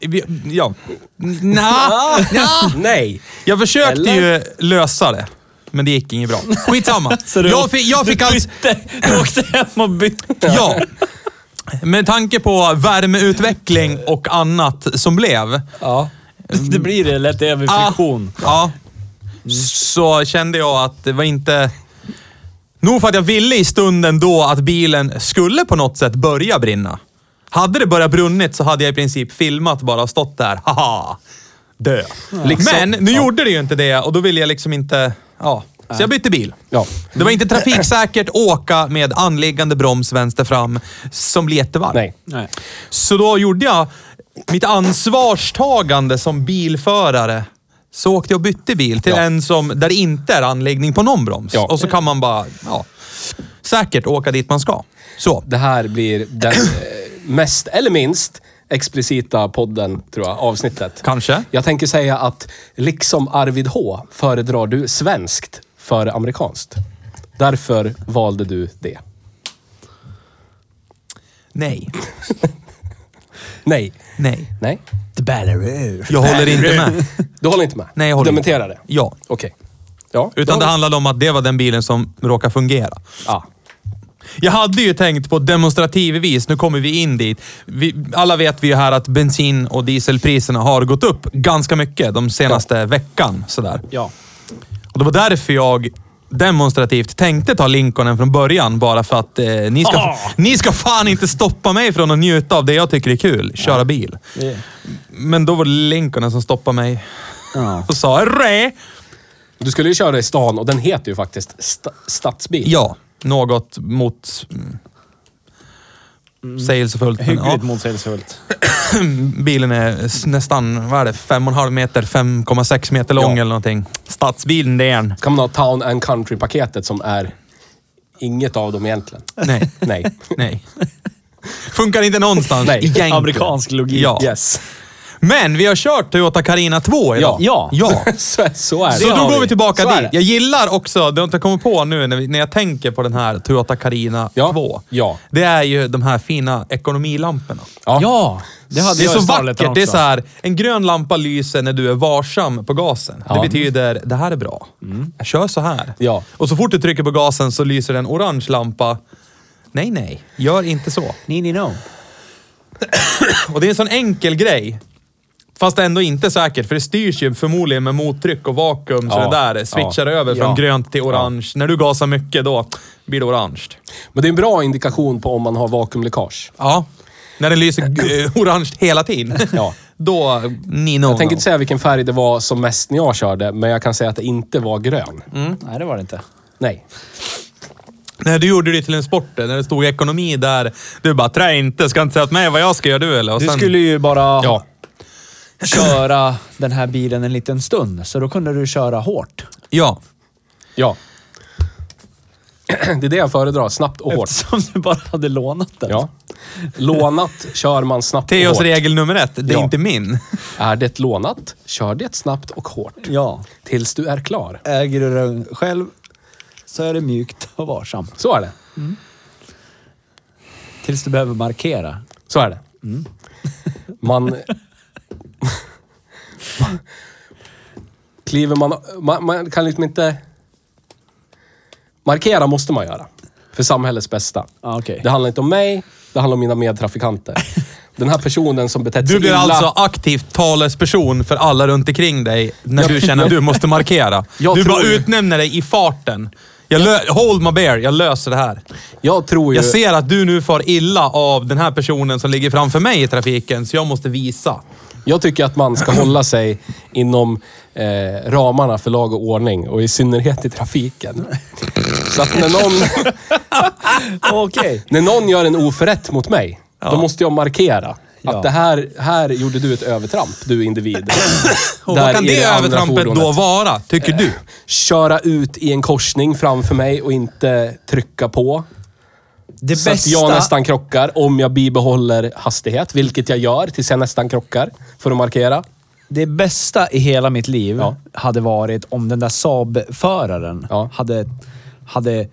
Speaker 2: Vi- Ja. Nja. Nja.
Speaker 1: Nej!
Speaker 2: Jag försökte
Speaker 1: Eller?
Speaker 2: ju lösa det, men det gick inget bra. Skitsamma.
Speaker 3: Så du,
Speaker 2: jag, fick, jag fick
Speaker 3: du,
Speaker 2: alltså...
Speaker 3: bytte, du åkte hem och bytte.
Speaker 2: Ja. Med tanke på värmeutveckling och annat som blev.
Speaker 3: Ja. Det blir det lätt även
Speaker 2: Ah,
Speaker 3: friktion.
Speaker 2: ja. Så kände jag att det var inte... Nog för att jag ville i stunden då att bilen skulle på något sätt börja brinna. Hade det börjat brunnit så hade jag i princip filmat bara och stått där. Haha! Dö. Liksom. Men nu gjorde det ju inte det och då ville jag liksom inte... Ja. Så jag bytte bil.
Speaker 1: Ja.
Speaker 2: Det var inte trafiksäkert åka med anliggande broms vänster fram som blir jättevarm.
Speaker 1: Nej.
Speaker 3: Nej.
Speaker 2: Så då gjorde jag mitt ansvarstagande som bilförare. Så åkte jag och bytte bil till
Speaker 1: Ja.
Speaker 2: en som, där det inte är anläggning på någon broms.
Speaker 1: Ja.
Speaker 2: Och så kan man bara ja, säkert åka dit man ska. Så.
Speaker 1: Det här blir den eh, mest, eller minst, explicita podden, tror jag, avsnittet.
Speaker 2: Kanske.
Speaker 1: Jag tänker säga att liksom Arvid H föredrar du svenskt före amerikanskt. Därför valde du det.
Speaker 2: Nej.
Speaker 1: Nej.
Speaker 2: Nej.
Speaker 1: Nej.
Speaker 3: The Ballarur.
Speaker 2: Jag håller inte med.
Speaker 1: Du håller inte med?
Speaker 2: Nej, jag
Speaker 1: du
Speaker 2: håller
Speaker 1: dementerar det?
Speaker 2: Ja.
Speaker 1: Okej. Ja.
Speaker 2: Utan
Speaker 1: då-
Speaker 2: det handlade om att det var den bilen som råkade fungera.
Speaker 1: Ja.
Speaker 2: Jag hade ju tänkt på demonstrativvis, nu kommer vi in dit. Vi, alla vet vi ju här att bensin och dieselpriserna har gått upp ganska mycket de senaste veckan. Sådär.
Speaker 3: Ja.
Speaker 2: Och det var därför jag demonstrativt tänkte ta Lincolnen från början bara för att eh, ni, ska,
Speaker 3: Ah!
Speaker 2: ni ska fan inte stoppa mig från att njuta av det jag tycker är kul, köra bil.
Speaker 3: Det-
Speaker 2: Men då var det Lincolnen som stoppade mig
Speaker 3: Ja.
Speaker 2: och sa Rä!
Speaker 1: Du skulle ju köra i stan och den heter ju faktiskt sta- stadsbil.
Speaker 2: Ja, något mot... Mm, Sägelsefullt. men ja.
Speaker 3: Mm. Hyggligt motsägelsefullt.
Speaker 2: Bilen är s- nästan, vad är det, 5,5 meter, 5,6 meter lång
Speaker 1: Ja.
Speaker 2: eller någonting. Stadsbilen, det är en.
Speaker 1: kan man ha Town and Country-paketet som är inget av dem egentligen.
Speaker 2: Nej,
Speaker 1: Nej.
Speaker 2: nej. Funkar inte någonstans.
Speaker 1: Nej.
Speaker 2: egentligen.
Speaker 3: Amerikansk logik.
Speaker 2: Ja.
Speaker 1: Yes.
Speaker 2: Men vi har kört Toyota Carina 2 idag.
Speaker 3: Ja.
Speaker 2: ja.
Speaker 1: Så, så är det.
Speaker 2: Så
Speaker 3: Det
Speaker 2: då
Speaker 3: har
Speaker 2: går vi
Speaker 3: vi.
Speaker 2: tillbaka
Speaker 1: Så är
Speaker 2: dit.
Speaker 1: det.
Speaker 2: Jag gillar också, det har inte kommit på nu när, vi, när jag tänker på den här Toyota Carina
Speaker 1: Ja.
Speaker 2: 2.
Speaker 1: Ja.
Speaker 2: Det är ju de här fina ekonomilamporna.
Speaker 1: Ja.
Speaker 3: Ja, det hade
Speaker 2: Det är
Speaker 3: jag
Speaker 2: så
Speaker 3: i Starleten
Speaker 2: vackert. Det är
Speaker 3: också.
Speaker 2: så här, en grön lampa lyser när du är varsam på gasen. Det
Speaker 1: Ja.
Speaker 2: betyder, det här är bra. Jag kör så här.
Speaker 1: Ja.
Speaker 2: Och så fort du trycker på gasen så lyser en orange lampa. Nej, nej. Gör inte så.
Speaker 3: Ni, ni, no.
Speaker 2: Och det är en sån enkel grej. Fast ändå inte säkert, för det styrs ju förmodligen med mottryck och vakuum så
Speaker 1: Ja.
Speaker 2: det där switchar
Speaker 1: Ja.
Speaker 2: över från
Speaker 1: Ja.
Speaker 2: grönt till orange. När du gasar mycket då blir det orange.
Speaker 1: Men det är en bra indikation på om man har vakuumläckage.
Speaker 2: Ja. När den lyser g- eh, orange hela tiden.
Speaker 1: Ja.
Speaker 2: Då, ni no
Speaker 1: Jag tänker inte säga vilken färg det var som mest när jag körde, men jag kan säga att det inte var grön.
Speaker 2: Mm.
Speaker 3: Nej, det var det inte.
Speaker 1: Nej.
Speaker 2: När du gjorde det till en sport, när det stod ekonomi där. Du bara, trä inte, ska inte säga åt mig vad jag ska göra du eller? Och
Speaker 3: Du
Speaker 2: sen-
Speaker 3: skulle ju bara
Speaker 1: Ja.
Speaker 3: köra den här bilen en liten stund, så då kunde du köra hårt.
Speaker 2: Ja.
Speaker 1: Ja. Det är det jag föredrar. Snabbt och hårt.
Speaker 3: Eftersom du bara hade lånat den.
Speaker 1: Ja. Lånat kör man snabbt och
Speaker 2: Teos
Speaker 1: hårt.
Speaker 2: regel nummer ett, det är
Speaker 1: Ja.
Speaker 2: inte min.
Speaker 1: Är det lånat, kör det snabbt och hårt.
Speaker 3: ja.
Speaker 1: Tills du är klar.
Speaker 3: Äger du den själv så är det mjukt och varsamt.
Speaker 1: Så är det.
Speaker 3: Tills du behöver markera.
Speaker 1: Så är det.
Speaker 2: Mm.
Speaker 1: Man... Kliver man, man... Man kan liksom inte... Markera måste man göra. För samhällets bästa.
Speaker 2: Ah,
Speaker 3: Ja, okej.
Speaker 1: Det handlar inte om mig, det handlar om mina medtrafikanter. Den här personen som betett sig
Speaker 2: Du blir
Speaker 1: illa...
Speaker 2: alltså aktivt talesperson för alla runt omkring dig när du känner att du måste markera.
Speaker 1: Jag
Speaker 2: Du
Speaker 1: tror
Speaker 2: bara
Speaker 1: ju-
Speaker 2: utnämner dig i farten. Jag lö- hold my bear, jag löser det här.
Speaker 1: Jag tror ju...
Speaker 2: Jag ser att du nu far illa av den här personen som ligger framför mig i trafiken, så jag måste visa.
Speaker 1: Jag tycker att man ska hålla sig inom eh, ramarna för lag och ordning och i synnerhet i trafiken. Så att när någon,
Speaker 3: Okej.
Speaker 1: när någon gör en oförrätt mot mig, då måste jag markera att
Speaker 3: Ja.
Speaker 1: det här, här gjorde du ett övertramp, du individ.
Speaker 2: Och
Speaker 1: Där
Speaker 2: vad kan
Speaker 1: i
Speaker 2: det
Speaker 1: andra
Speaker 2: övertrampet då
Speaker 1: fordonet.
Speaker 2: vara, tycker du?
Speaker 1: Köra ut i en korsning framför mig och inte trycka på.
Speaker 3: Det
Speaker 1: Så att jag nästan krockar om jag bibehåller hastighet, vilket jag gör tills jag nästan krockar. För att markera.
Speaker 3: Det bästa i hela mitt liv
Speaker 1: Ja.
Speaker 3: hade varit om den där Saab-föraren
Speaker 1: Ja.
Speaker 3: hade, hade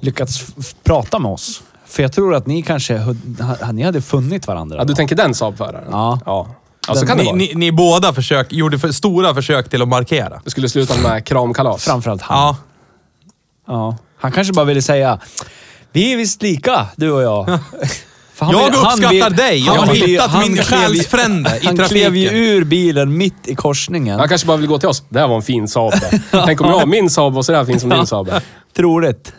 Speaker 3: lyckats f- f- prata med oss. För jag tror att ni kanske hu- ha- ni hade funnit varandra.
Speaker 1: Ja, du tänker den Saab-föraren?
Speaker 3: Ja.
Speaker 1: ja. Ja, så
Speaker 3: Den-
Speaker 1: kan det
Speaker 2: Ni,
Speaker 1: vara.
Speaker 2: ni, ni båda försök, gjorde för, stora försök till att markera.
Speaker 1: Det skulle sluta med kramkalas.
Speaker 3: Framförallt han.
Speaker 2: Ja.
Speaker 3: Ja. Han kanske bara ville säga, vi är visst lika, du och jag. För han
Speaker 2: Jag
Speaker 3: vill- han
Speaker 2: uppskattar
Speaker 3: vill-
Speaker 2: dig. Jag
Speaker 3: han
Speaker 2: har
Speaker 3: vill-
Speaker 2: hittat
Speaker 3: han
Speaker 2: min
Speaker 3: klev ju-
Speaker 2: själsfrände i
Speaker 3: Han klev ju
Speaker 2: trafiken.
Speaker 3: ur bilen mitt i korsningen.
Speaker 1: Han kanske bara vill gå till oss. Det här var en fin Saab. det. Tänk om jag har min Saab och så där fin som din Saab. är.
Speaker 3: Troligt.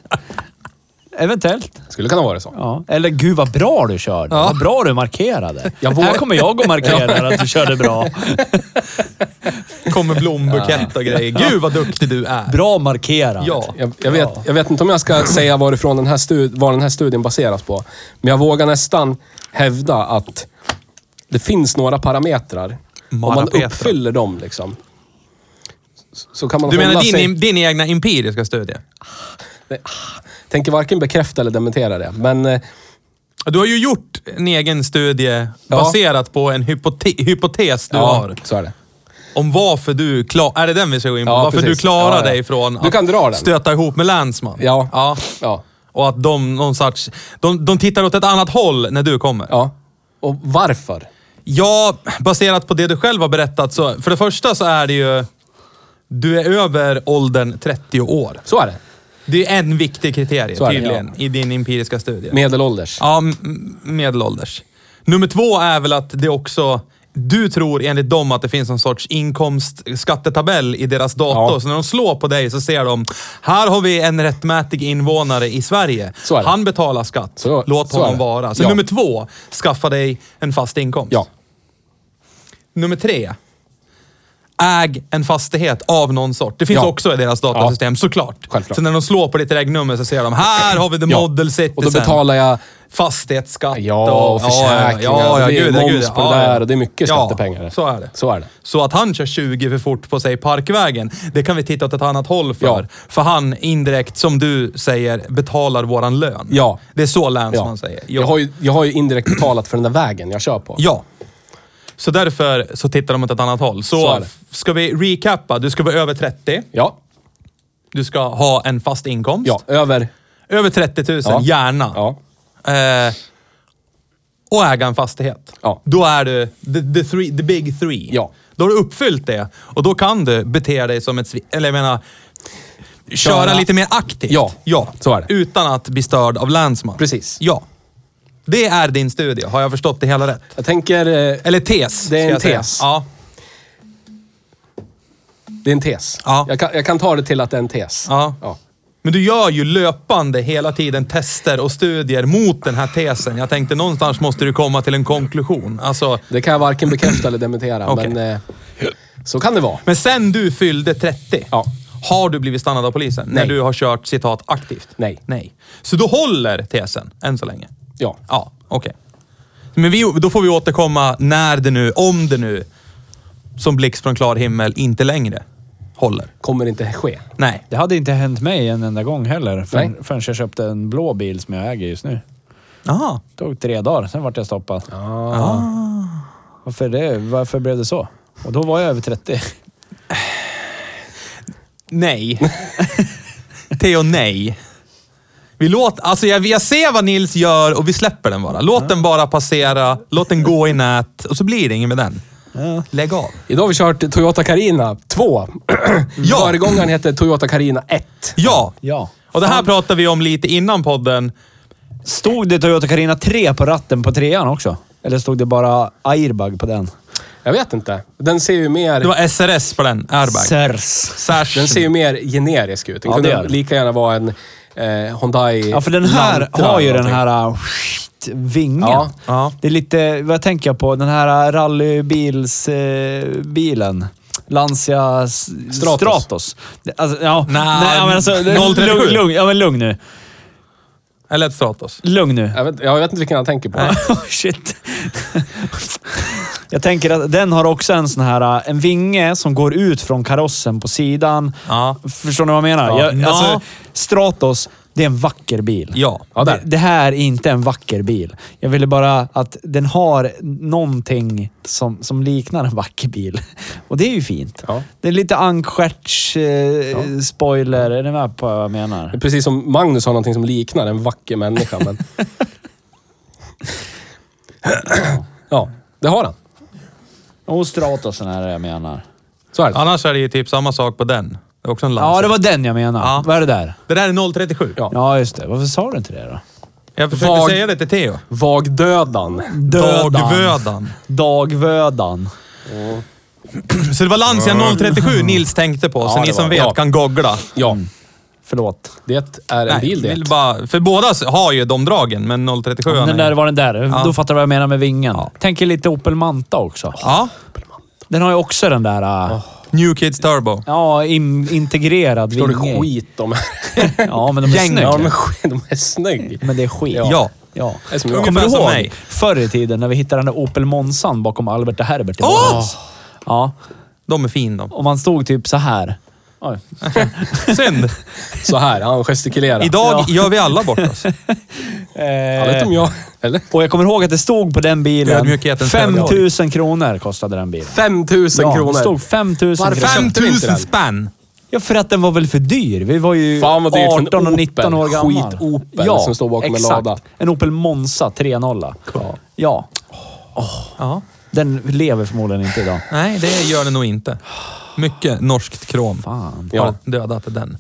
Speaker 3: Eventuellt.
Speaker 1: Skulle kunna vara det så.
Speaker 3: Ja. Eller gud vad bra du körde.
Speaker 2: Ja.
Speaker 3: Vad bra du markerade.
Speaker 1: Jag vågar-
Speaker 3: Här kommer jag och markerar att du körde bra.
Speaker 2: Kommer blombukett och grejer. Gud vad duktig du är.
Speaker 3: Bra markerat.
Speaker 2: Ja.
Speaker 1: Jag, jag, vet, jag vet inte om jag ska säga varifrån den här, stud, vad den här studien baseras på. Men jag vågar nästan hävda att det finns några parametrar. Om man
Speaker 2: Marapetrar.
Speaker 1: uppfyller dem liksom. s- Så kan man
Speaker 2: Du menar
Speaker 1: hålla sig...
Speaker 2: din, din egna empiriska studie?
Speaker 1: Tänker varken bekräfta eller dementera det. Men eh,
Speaker 2: Du har ju gjort en egen studie baserat på en hypote- hypotes du
Speaker 1: ja,
Speaker 2: har.
Speaker 1: så är det.
Speaker 2: Om varför du klarar... Är det den vi ska gå in på?
Speaker 1: Ja,
Speaker 2: varför
Speaker 1: precis.
Speaker 2: du klarar
Speaker 1: Ja, ja.
Speaker 2: dig från
Speaker 1: Du kan dra den.
Speaker 2: stöta ihop med länsman.
Speaker 1: Ja.
Speaker 2: ja.
Speaker 1: Ja.
Speaker 2: Och att de någon sorts... De, de tittar åt ett annat håll när du kommer.
Speaker 1: ja. Och varför?
Speaker 2: Ja, baserat på det du själv har berättat så... För det första så är det ju... Du är över åldern 30 år.
Speaker 1: Så är det.
Speaker 2: Det är en viktig kriterie
Speaker 1: Så är det,
Speaker 2: tydligen i din empiriska studie.
Speaker 1: Medelålders.
Speaker 2: Ja, m- m- medelålders. Nummer två är väl att det också... Du tror enligt dem att det finns någon sorts inkomstskattetabell i deras dator.
Speaker 1: Ja.
Speaker 2: Så när de slår på dig så ser de, här har vi en rättmätig invånare i Sverige.
Speaker 1: Så är det.
Speaker 2: Han betalar skatt.
Speaker 1: Så-
Speaker 2: Låt
Speaker 1: så är
Speaker 2: honom
Speaker 1: det.
Speaker 2: vara. Så
Speaker 1: Ja.
Speaker 2: nummer två, skaffa dig en fast inkomst.
Speaker 1: Ja.
Speaker 2: Nummer tre, äg en fastighet av någon sort. Det finns
Speaker 1: Ja.
Speaker 2: också i deras datasystem, såklart.
Speaker 1: Självklart.
Speaker 2: Så när de slår på ditt regnummer så ser de, här har vi the
Speaker 1: Ja.
Speaker 2: model citizen
Speaker 1: Och då betalar jag
Speaker 2: fastighetsskatt
Speaker 1: Ja, och försäkringar.
Speaker 2: Ja, ja,
Speaker 1: det är
Speaker 2: gud,
Speaker 1: moms
Speaker 2: gud,
Speaker 1: på
Speaker 2: ja,
Speaker 1: det där
Speaker 2: ja.
Speaker 1: och det är mycket skattepengar.
Speaker 2: Ja, så är det.
Speaker 1: Så är det.
Speaker 2: Så att han kör 20 för fort på sig Parkvägen, det kan vi titta åt ett annat håll för.
Speaker 1: Ja.
Speaker 2: För han indirekt, som du säger, betalar våran lön.
Speaker 1: Ja.
Speaker 2: Det är så länsman
Speaker 1: Ja.
Speaker 2: säger. Ja.
Speaker 1: Jag, har ju, jag har ju indirekt betalat för den där vägen jag kör på.
Speaker 2: ja. Så därför så tittar de åt ett annat håll. Så,
Speaker 1: Så är det.
Speaker 2: ska vi recappa. Du ska vara över 30.
Speaker 1: Ja.
Speaker 2: Du ska ha en fast inkomst.
Speaker 1: ja. Över.
Speaker 2: Över 30 000,
Speaker 1: Ja.
Speaker 2: gärna.
Speaker 1: Ja.
Speaker 2: Eh, och äga en fastighet.
Speaker 1: Ja.
Speaker 2: Då är du the, the, three, the big three.
Speaker 1: Ja.
Speaker 2: Då har du uppfyllt det och då kan du bete dig som ett svin. Eller jag menar, köra,
Speaker 1: Köra-
Speaker 2: lite mer aktivt.
Speaker 1: Ja,
Speaker 2: ja,
Speaker 1: så är det.
Speaker 2: Utan att bli störd av länsman.
Speaker 1: Precis.
Speaker 2: Ja. Det är din studie, har jag förstått det hela rätt?
Speaker 1: Jag tänker... eh,
Speaker 2: Eller tes.
Speaker 1: Det är
Speaker 2: ska
Speaker 1: en
Speaker 2: jag säga.
Speaker 1: tes.
Speaker 2: Ja.
Speaker 1: Det är en tes.
Speaker 2: Ja.
Speaker 1: Jag, kan, jag kan ta det till att det är en tes.
Speaker 2: Ja.
Speaker 1: ja.
Speaker 2: Men du gör ju löpande hela tiden tester och studier mot den här tesen. Jag tänkte någonstans måste du komma till en konklusion. Alltså,
Speaker 1: Det kan jag varken bekräfta eller dementera,
Speaker 2: Okej.
Speaker 1: men eh, så kan det vara.
Speaker 2: Men sen du fyllde 30,
Speaker 1: Ja.
Speaker 2: har du blivit stannad av polisen? När
Speaker 1: Nej.
Speaker 2: du har kört citat aktivt?
Speaker 1: Nej.
Speaker 2: Nej. Så då håller tesen än så länge?
Speaker 1: Ja.
Speaker 2: Ja, okej. Men vi, då får vi återkomma när det nu, om det nu, som blixt från klar himmel, inte längre håller.
Speaker 1: Kommer inte ske.
Speaker 2: Nej.
Speaker 3: Det hade inte hänt mig en enda gång heller förrän,
Speaker 1: Nej.
Speaker 3: förrän jag köpte en blå bil som jag äger just nu.
Speaker 2: Aha.
Speaker 3: Det tog tre dagar, sen vart jag stoppad. Ah. Varför, det? Varför blev det så? Och då var jag över 30.
Speaker 2: Nej. Theo, nej. Vi låter, alltså jag, jag ser vad Nils gör och vi släpper den bara. Låt den bara passera, låt den gå i nät och så blir det inget med den. Lägg av.
Speaker 1: Idag har vi kört Toyota Carina 2.
Speaker 2: Ja.
Speaker 1: Föregångaren hette Toyota Carina 1.
Speaker 2: Ja.
Speaker 3: Ja.
Speaker 2: Och det här pratade vi om lite innan podden.
Speaker 3: Stod det Toyota Carina 3 på ratten på trean också? Eller stod det bara airbag på den?
Speaker 1: Jag vet inte. Den ser ju mer...
Speaker 2: Det var SRS på den, airbag.
Speaker 3: Sers.
Speaker 2: Sash.
Speaker 1: Den ser ju mer generisk ut. Den
Speaker 3: Ja, det
Speaker 1: kunde
Speaker 3: gör den.
Speaker 1: lika gärna vara en eh, Hyundai
Speaker 3: Ja, för den här
Speaker 1: Elantra
Speaker 3: har ju
Speaker 1: eller
Speaker 3: den
Speaker 1: någonting.
Speaker 3: här äh, skit, vingen.
Speaker 1: Ja,
Speaker 2: ja.
Speaker 3: Det är lite, vad jag tänker på, den här äh, rallybils-bilen. Eh, bilen. Lancia S-
Speaker 1: Stratos.
Speaker 3: Stratos. Det- Alltså, ja,
Speaker 2: Nä,
Speaker 3: nej, men alltså, det-
Speaker 2: 037.
Speaker 3: lugn, lugn, ja, men lugn nu.
Speaker 2: Eller ett Stratos.
Speaker 3: Lugn nu.
Speaker 1: Jag vet, jag vet inte vilken han tänker på.
Speaker 3: Oh, shit. Jag tänker att den har också en sån här, äh, en vinge som går ut från karossen på sidan.
Speaker 2: Ja.
Speaker 3: Förstår ni vad jag menar?
Speaker 1: Ja.
Speaker 3: Jag,
Speaker 2: Ja.
Speaker 3: alltså, Stratos, det är en vacker bil.
Speaker 2: Ja.
Speaker 1: Ja, där.
Speaker 3: det, det här är inte en vacker bil. Jag ville bara att den har någonting som, som liknar en vacker bil. Och det är ju fint.
Speaker 1: Ja.
Speaker 3: Det är lite ankstjärts eh, spoiler. Är ni med på vad jag menar?
Speaker 1: Det är precis som Magnus har någonting som liknar en vacker människa. Men... ja, det har han.
Speaker 3: Och Stratosen är det jag menar.
Speaker 1: Så är det.
Speaker 2: Annars är det ju typ samma sak på den. Det är också en Lancer.
Speaker 3: Ja, det var den jag menar.
Speaker 2: Ja.
Speaker 3: Vad är det där?
Speaker 2: Det där är 037.
Speaker 1: Ja.
Speaker 3: Ja, just det. Varför sa du inte det då?
Speaker 2: Jag försökte
Speaker 1: Vag-
Speaker 2: säga det till Theo.
Speaker 1: Vagdödan.
Speaker 2: Dagvödan.
Speaker 3: Dagvödan.
Speaker 2: Så det var Lancia 037 Nils tänkte på, så
Speaker 1: Ja,
Speaker 2: ni
Speaker 1: det
Speaker 2: som
Speaker 1: var-
Speaker 2: vet
Speaker 1: ja.
Speaker 2: kan googla.
Speaker 1: Ja,
Speaker 3: Mm. Förlåt.
Speaker 1: det är en bil det.
Speaker 2: vill bara, för båda har ju de dragen, men 037
Speaker 3: Den där var den där. Då fattar du vad jag menar med vingen.
Speaker 2: Ja.
Speaker 3: Tänker lite Opel Manta också.
Speaker 2: Ja.
Speaker 3: Den har ju också den där... äh,
Speaker 2: New Kids Turbo.
Speaker 3: Ja, in, integrerad
Speaker 1: Förstår du
Speaker 3: vinge. i.
Speaker 1: skit om...
Speaker 3: Ja, men de är
Speaker 2: Gäng.
Speaker 3: snygga.
Speaker 1: ja, men skit, de är snygg.
Speaker 3: Men det är skit.
Speaker 2: Ja.
Speaker 3: ja.
Speaker 1: Det är som jag.
Speaker 3: Kommer du
Speaker 2: Ungefär som
Speaker 3: ihåg
Speaker 2: mig.
Speaker 3: förr i tiden när vi hittade den där Opel Monsan bakom Albert och Herbert i
Speaker 2: Åh!
Speaker 3: våras? Ja,
Speaker 2: De är fina de.
Speaker 3: och man stod typ så här. Eh, Oj.
Speaker 2: Synd.
Speaker 1: Så här, han gestikulerar.
Speaker 2: Idag
Speaker 3: Ja.
Speaker 2: gör vi alla bort oss.
Speaker 1: Ja, vet om jag... Eller?
Speaker 3: Och jag kommer ihåg att det stod på den bilen...
Speaker 2: Ödmjukhetens
Speaker 3: 5000 kronor kostade den bilen.
Speaker 1: 5000
Speaker 3: Ja, det
Speaker 1: kronor.
Speaker 3: stod 5000
Speaker 1: Varför?
Speaker 3: kronor.
Speaker 1: köpte vi inte
Speaker 2: 5000
Speaker 1: den?
Speaker 2: spänn!
Speaker 3: Ja, för att den var väl för dyr. Vi var ju
Speaker 1: Fan vad dyrt för en
Speaker 3: 18 och 19 år
Speaker 1: Opel.
Speaker 3: gammal.
Speaker 1: Skit-Opel som står bakom en
Speaker 3: exakt.
Speaker 1: lada.
Speaker 3: En Opel Monza 3.0. Ja. ja.
Speaker 2: Ja.
Speaker 3: Den lever förmodligen inte idag.
Speaker 2: Nej, det gör det nog inte. Mycket norskt krom.
Speaker 3: Fan.
Speaker 2: Har dödat den.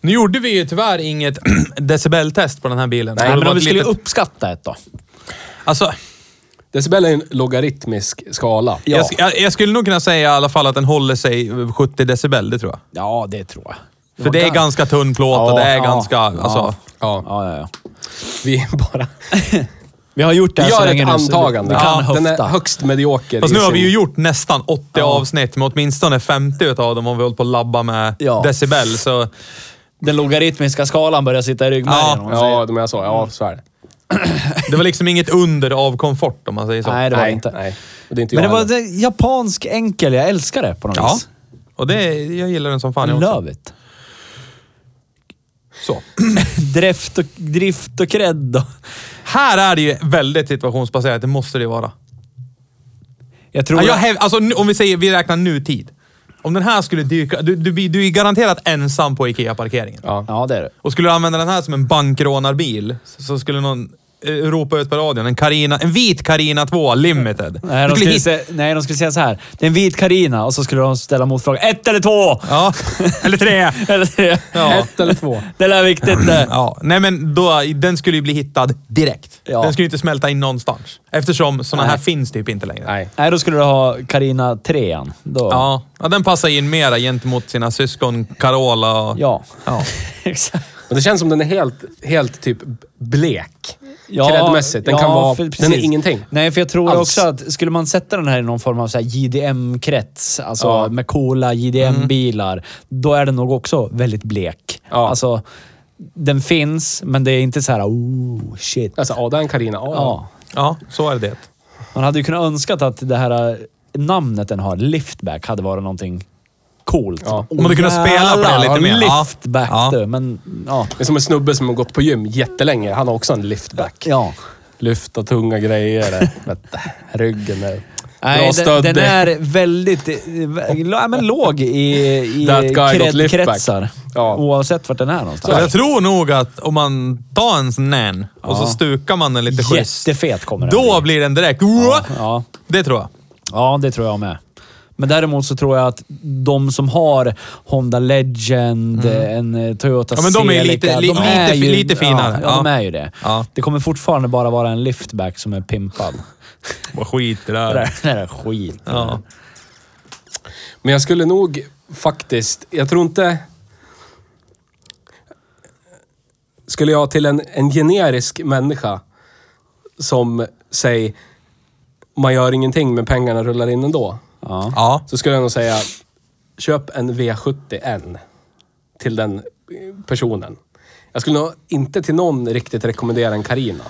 Speaker 2: Nu gjorde vi ju tyvärr inget decibeltest på den här bilen.
Speaker 3: Nej, men
Speaker 2: var
Speaker 3: om vi
Speaker 2: ett
Speaker 3: skulle
Speaker 2: litet-
Speaker 3: uppskatta ett då.
Speaker 2: Alltså,
Speaker 1: Decibel är en logaritmisk skala.
Speaker 2: jag, sk- jag, jag skulle nog kunna säga i alla fall att den håller sig 70 decibel, det tror jag.
Speaker 3: Ja, det tror jag.
Speaker 2: För det är ganska tunn plåt och
Speaker 1: Ja,
Speaker 2: det är
Speaker 3: ja,
Speaker 2: ganska...
Speaker 3: ja.
Speaker 2: Alltså,
Speaker 1: Ja,
Speaker 3: Ja, ja, ja.
Speaker 1: vi bara...
Speaker 3: Vi har gjort det
Speaker 1: Vi
Speaker 3: här så
Speaker 1: gör
Speaker 3: länge
Speaker 1: ett
Speaker 3: nu, så
Speaker 1: antagande.
Speaker 3: Vi, vi kan
Speaker 1: Ja, den
Speaker 3: höfta.
Speaker 1: är högst medioker.
Speaker 2: Fast
Speaker 1: i
Speaker 2: nu har
Speaker 1: sin-
Speaker 2: vi ju gjort nästan 80 avsnitt, men åtminstone 50 utav dem har vi hållit på att labba med
Speaker 3: Ja.
Speaker 2: decibel. Så
Speaker 3: Den logaritmiska skalan börjar sitta i
Speaker 2: Ja.
Speaker 3: ryggmärgen. om man säger.
Speaker 1: Ja, de jag sa.
Speaker 3: Mm.
Speaker 1: Ja, så är det.
Speaker 2: det var liksom inget under av komfort om man säger så.
Speaker 3: Nej, det var det inte.
Speaker 1: Nej, och det är inte
Speaker 3: Men det
Speaker 1: jag
Speaker 3: var
Speaker 1: heller.
Speaker 3: det- japansk enkel. Jag älskar det på något
Speaker 2: Ja.
Speaker 3: vis.
Speaker 2: Och det, jag gillar den som fan
Speaker 3: I
Speaker 2: jag också.
Speaker 3: love it.
Speaker 2: Så.
Speaker 3: Drift och, drift och cred. och-
Speaker 2: Här är det ju väldigt situationsbaserat, det måste det ju vara.
Speaker 3: Jag tror...
Speaker 2: Ja, jag
Speaker 3: att-
Speaker 2: häv, alltså, nu- om vi säger, vi räknar nutid. Om den här skulle dyka, du, du, blir- du är garanterat ensam på IKEA-parkeringen.
Speaker 3: ja, det är det.
Speaker 2: Och skulle du använda den här som en bankrånarbil så, så skulle någon eh, ropa ut på radion, en, Carina, en vit Carina 2 limited.
Speaker 3: Nej
Speaker 2: Du
Speaker 3: de,
Speaker 2: skulle
Speaker 3: skulle säga,
Speaker 2: hitta-
Speaker 3: nej, de skulle säga så här. Det är en vit Karina och så skulle de ställa motfrågan. Ett eller två?
Speaker 2: Ja, eller tre.
Speaker 3: Eller tre?
Speaker 2: Ja.
Speaker 1: Ett eller två.
Speaker 3: Det där är viktigt eh. det.
Speaker 2: Ja, nej men då, den skulle ju bli hittad direkt.
Speaker 3: Ja.
Speaker 2: Den skulle ju inte smälta in någonstans. Eftersom sådana här
Speaker 3: Nej.
Speaker 2: finns typ inte längre.
Speaker 1: Nej.
Speaker 3: Nej, då skulle du ha Karina trean. Då.
Speaker 2: Ja. ja, den passar in mera gentemot sina syskon Carola och...
Speaker 3: Ja.
Speaker 2: Ja.
Speaker 3: Exakt.
Speaker 1: Men det känns som den är helt, helt typ blek.
Speaker 3: Ja,
Speaker 1: Kreddmässigt. Den
Speaker 3: ja,
Speaker 1: kan vara...
Speaker 3: för-
Speaker 1: Den är
Speaker 3: precis.
Speaker 1: ingenting.
Speaker 3: Nej, för jag tror
Speaker 1: Alls.
Speaker 3: också att skulle man sätta den här i någon form av så här JDM-krets, alltså
Speaker 1: Ja.
Speaker 3: med coola JDM-bilar, då är den nog också väldigt blek.
Speaker 1: Ja.
Speaker 3: Alltså, den finns, men det är inte så här oh shit.
Speaker 1: Alltså, ja, den Carina. Ja.
Speaker 3: Ja.
Speaker 2: ja, så är det.
Speaker 3: Man hade ju kunnat önskat att det här eh, namnet den har, Liftback, hade varit någonting coolt.
Speaker 1: Ja.
Speaker 3: Åh,
Speaker 2: Man hade kunnat spela på det
Speaker 3: jävlar,
Speaker 2: lite mer. Ja.
Speaker 3: Liftback
Speaker 2: Ja.
Speaker 3: du, men ja.
Speaker 1: Det är som en snubbe som har gått på gym jättelänge. Han har också en liftback.
Speaker 3: ja.
Speaker 1: Lyfta tunga grejer. där. Vet du, Ryggen är
Speaker 3: Nej,
Speaker 1: bra
Speaker 3: den,
Speaker 1: stöd.
Speaker 3: den är väldigt eh, l- ja, men låg i, i
Speaker 1: That guy got
Speaker 3: kred,
Speaker 1: liftback.
Speaker 3: kretsar.
Speaker 1: Ja.
Speaker 3: Oavsett vart den är någonstans.
Speaker 2: Så jag tror nog att om man tar en sån nan och så stukar man den lite schysst.
Speaker 3: Jättefet kommer den
Speaker 2: Då
Speaker 3: bli.
Speaker 2: blir den direkt...
Speaker 3: Ja.
Speaker 2: Det tror jag.
Speaker 3: ja, det tror jag med. Men däremot så tror jag att de som har Honda Legend, en eh, Toyota
Speaker 2: Mm. Ja, men de är lite-
Speaker 3: Celica,
Speaker 2: li-
Speaker 3: de är
Speaker 2: lite fi-
Speaker 3: ju,
Speaker 2: lite finare.
Speaker 3: Ja, ja, de
Speaker 2: Ja.
Speaker 3: är ju det.
Speaker 2: Ja.
Speaker 3: Det kommer fortfarande bara vara en liftback som är pimpad.
Speaker 2: Vad skit det
Speaker 3: Det
Speaker 2: där.
Speaker 3: där, det där är skit.
Speaker 2: Ja.
Speaker 1: Men jag skulle nog faktiskt... Jag tror inte... Skulle jag till en, en generisk människa som, säg, man gör ingenting men pengarna rullar in ändå.
Speaker 3: Ja.
Speaker 2: ja.
Speaker 1: Så skulle jag nog säga, köp en V70N till den eh, personen. Jag skulle nog inte till någon riktigt rekommendera en Carina.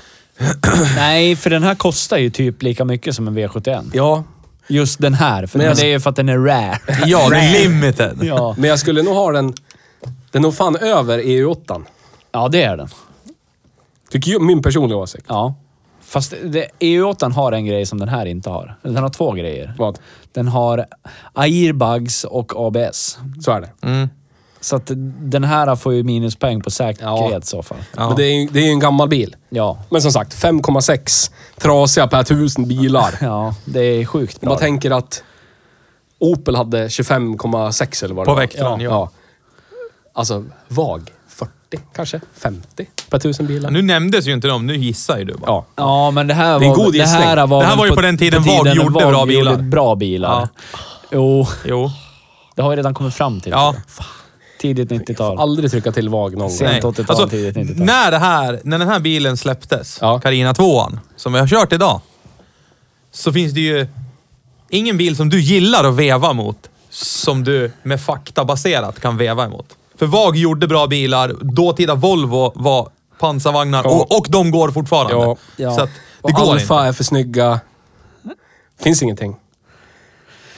Speaker 3: Nej, för den här kostar ju typ lika mycket som en V71.
Speaker 1: Ja,
Speaker 3: Just den här, för
Speaker 1: Men
Speaker 3: men
Speaker 1: jag-
Speaker 3: det är ju för att den är rare.
Speaker 2: Ja, det är limited.
Speaker 3: Ja,
Speaker 1: men jag skulle nog ha den... Den är nog fan över EU8.
Speaker 3: ja det är den.
Speaker 1: Tycker jag, min personliga åsikt.
Speaker 3: Ja. Fast det, EU8 har en grej som den här inte har. Den har två grejer.
Speaker 1: Vad?
Speaker 3: Den har airbags och ABS.
Speaker 1: Så är det.
Speaker 3: Mm, Så att den här får ju minuspoäng på säkerhet
Speaker 1: Ja.
Speaker 3: i så fall.
Speaker 2: Ja.
Speaker 1: Men det är, ju, det är ju en gammal bil.
Speaker 3: Ja.
Speaker 1: Men som sagt, 5,6 trasiga per tusen bilar.
Speaker 3: Ja, det är sjukt
Speaker 1: Om
Speaker 3: bra.
Speaker 1: man tänker att Opel hade 25,6 eller vad det
Speaker 2: På
Speaker 1: var.
Speaker 2: väktaren, ja.
Speaker 1: Alltså, VAG 40 kanske? 50? per tusen bilar.
Speaker 2: Nu nämndes ju inte de, nu gissar ju du bara.
Speaker 1: Ja.
Speaker 3: Ja, men det här
Speaker 1: Det är en
Speaker 3: var...
Speaker 1: god
Speaker 3: det,
Speaker 1: gissning.
Speaker 3: här var
Speaker 2: Det här
Speaker 3: väl
Speaker 2: var ju på den tiden VAG gjorde
Speaker 3: VAG
Speaker 2: bra bilar.
Speaker 3: gjorde bra bilar. Jo,
Speaker 2: Jo.
Speaker 3: det har vi redan kommit fram till.
Speaker 2: Ja.
Speaker 3: Tidigt 90-tal.
Speaker 1: Aldrig trycka till VAG någon gång.
Speaker 3: Sent
Speaker 2: Nej.
Speaker 3: 80-tal,
Speaker 2: Alltså,
Speaker 3: tidigt 90-tal.
Speaker 2: när, det här, när den här bilen släpptes,
Speaker 1: Ja.
Speaker 2: Carina 2an, som vi har kört idag, så finns det ju ingen bil som du gillar att veva mot som du med fakta baserat kan veva emot. För VAG gjorde bra bilar, dåtida Volvo var pansarvagnar
Speaker 1: Ja.
Speaker 2: och, och de går fortfarande.
Speaker 1: Ja.
Speaker 3: Ja.
Speaker 2: Så att, det
Speaker 1: Och
Speaker 2: går
Speaker 1: Alfa
Speaker 2: inte.
Speaker 1: är för snygga. Finns ingenting.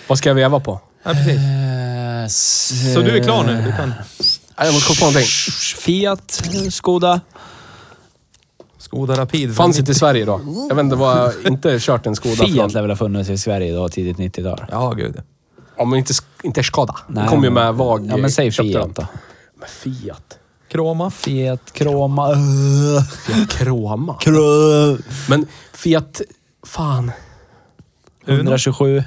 Speaker 1: Vad ska jag veva på?
Speaker 2: Ja, precis.
Speaker 3: Eh, s-
Speaker 2: Så du är klar nu? Du kan...
Speaker 1: Eh, Nej, Jag måste komma på någonting.
Speaker 3: Fiat, Skoda.
Speaker 2: Skoda Rapid.
Speaker 1: Fanns inte i Sverige då. Jag vet inte vad jag inte kört en Skoda
Speaker 3: Fiat lär
Speaker 1: från.
Speaker 3: väl ha funnits i Sverige då, tidigt 90-tal.
Speaker 2: Ja, gud.
Speaker 1: Ja, men inte, inte Skoda. Den
Speaker 3: Nej,
Speaker 1: kom ju
Speaker 3: men-
Speaker 1: med VAG.
Speaker 3: Ja, men säg
Speaker 1: köpte
Speaker 3: Fiat
Speaker 1: de.
Speaker 3: då.
Speaker 1: Men Fiat.
Speaker 2: Kroma.
Speaker 3: Fiat, Kroma...
Speaker 1: Fiat Kroma.
Speaker 3: Krö-
Speaker 1: Men Fiat... Fan.
Speaker 2: Uno.
Speaker 3: 127.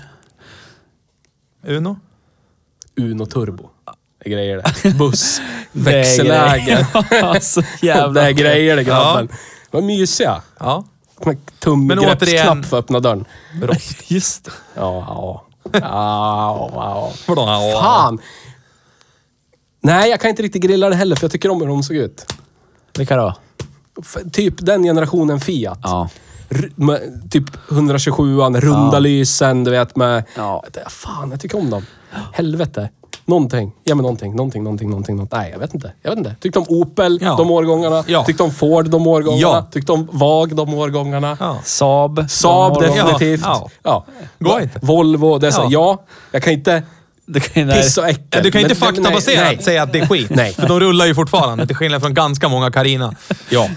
Speaker 2: Uno.
Speaker 1: Uno Turbo. Det är grejer det. Buss.
Speaker 3: Det är
Speaker 1: Växelläge.
Speaker 3: grejer. Så
Speaker 1: Det
Speaker 3: jävla...
Speaker 1: är grejer det grabben.
Speaker 2: Ja.
Speaker 1: Vad mysiga.
Speaker 2: Ja. Men återigen-
Speaker 1: Tumgreppsknapp för att öppna dörren.
Speaker 3: Just det.
Speaker 1: Ja, ja. Ja, ja.
Speaker 2: Vadå? Ja.
Speaker 1: Fan! Nej, jag kan inte riktigt grilla det heller, för jag tycker om hur de såg ut.
Speaker 3: Vilka då?
Speaker 1: F- typ den generationen Fiat.
Speaker 3: Ja.
Speaker 1: R- med, typ 127an, runda
Speaker 3: Ja.
Speaker 1: lysen, du vet med...
Speaker 3: Ja.
Speaker 1: Det- Fan, jag tycker om dem. Helvete. Någonting. Ge mig någonting. Någonting, någonting, någonting. någonting. Nej, jag vet inte. Jag vet inte. Tyckte om Opel
Speaker 2: Ja.
Speaker 1: de årgångarna.
Speaker 2: Ja.
Speaker 1: Tyckte om Ford de årgångarna.
Speaker 2: Ja.
Speaker 1: Tyckte om VAG de årgångarna.
Speaker 2: Ja.
Speaker 3: Saab.
Speaker 1: Saab
Speaker 3: De har-
Speaker 1: definitivt.
Speaker 2: Ja.
Speaker 1: Ja.
Speaker 2: Går inte.
Speaker 1: Volvo. Det är så.
Speaker 2: Ja.
Speaker 1: Ja. jag kan inte
Speaker 3: Det kan ju-
Speaker 1: piss och äckel.
Speaker 2: Ja, Du kan ju inte
Speaker 1: Men- men- nej, nej.
Speaker 2: faktabaserat säga att det är skit.
Speaker 1: Nej.
Speaker 2: För de rullar ju fortfarande, till skillnad från ganska många Carina.
Speaker 1: Ja.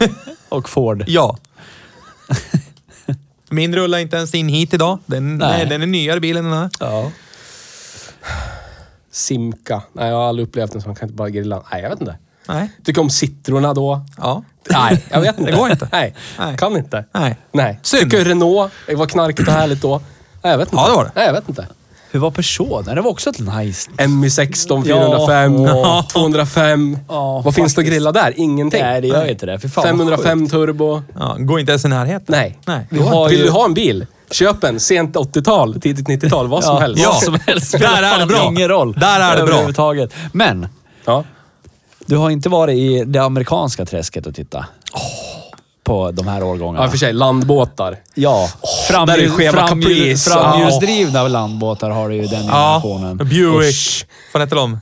Speaker 3: Och Ford.
Speaker 2: Ja. Min rullar inte ens in hit idag. Den, nej.
Speaker 3: Nej.
Speaker 2: den är nyare bilen än den här.
Speaker 3: Ja.
Speaker 1: Simka. Nej, jag har aldrig upplevt en sån. Kan inte bara grilla. Nej, jag vet inte.
Speaker 2: Nej.
Speaker 1: Tycker om citrorna då.
Speaker 2: Ja.
Speaker 1: Nej, jag vet inte.
Speaker 2: Det går inte.
Speaker 1: Nej,
Speaker 2: Nej.
Speaker 1: kan inte.
Speaker 2: Nej.
Speaker 1: Nej.
Speaker 2: Synd.
Speaker 1: Tycker Renault. Det var knarkigt och härligt då. Nej, jag vet inte.
Speaker 2: Ja, det var det.
Speaker 1: Nej, jag vet inte.
Speaker 3: Hur var Peugeot? Nej, Det var också ett nice...
Speaker 1: MI16, 405,
Speaker 3: Ja.
Speaker 1: 205.
Speaker 3: Ja,
Speaker 1: Vad finns det att
Speaker 3: faktiskt.
Speaker 1: grilla där? Ingenting.
Speaker 3: Nej, det gör inte det. Fy fan, vad
Speaker 1: 505 turbo.
Speaker 2: Ja, går inte ens i närheten.
Speaker 1: Nej.
Speaker 2: Nej.
Speaker 1: Vi
Speaker 3: Vi
Speaker 1: har,
Speaker 3: har
Speaker 1: vill
Speaker 3: ju-
Speaker 1: du ha en bil? Köp en. Sent 80-tal, tidigt 90-tal. Vad som
Speaker 3: Ja,
Speaker 1: helst.
Speaker 3: Vad som helst.
Speaker 2: Där är det
Speaker 3: fan
Speaker 2: bra.
Speaker 3: ingen roll.
Speaker 2: Där är det bra.
Speaker 3: Överhuvudtaget. Men,
Speaker 1: Ja.
Speaker 3: du har inte varit i det amerikanska träsket och titta På de här årgångarna.
Speaker 1: ja, i och för sig. Landbåtar.
Speaker 3: Ja. Framljus,
Speaker 1: där är skeva Caprice.
Speaker 3: framljusdrivna landbåtar har du ju den
Speaker 2: Ja.
Speaker 3: generationen.
Speaker 2: Buick. Vad hette de?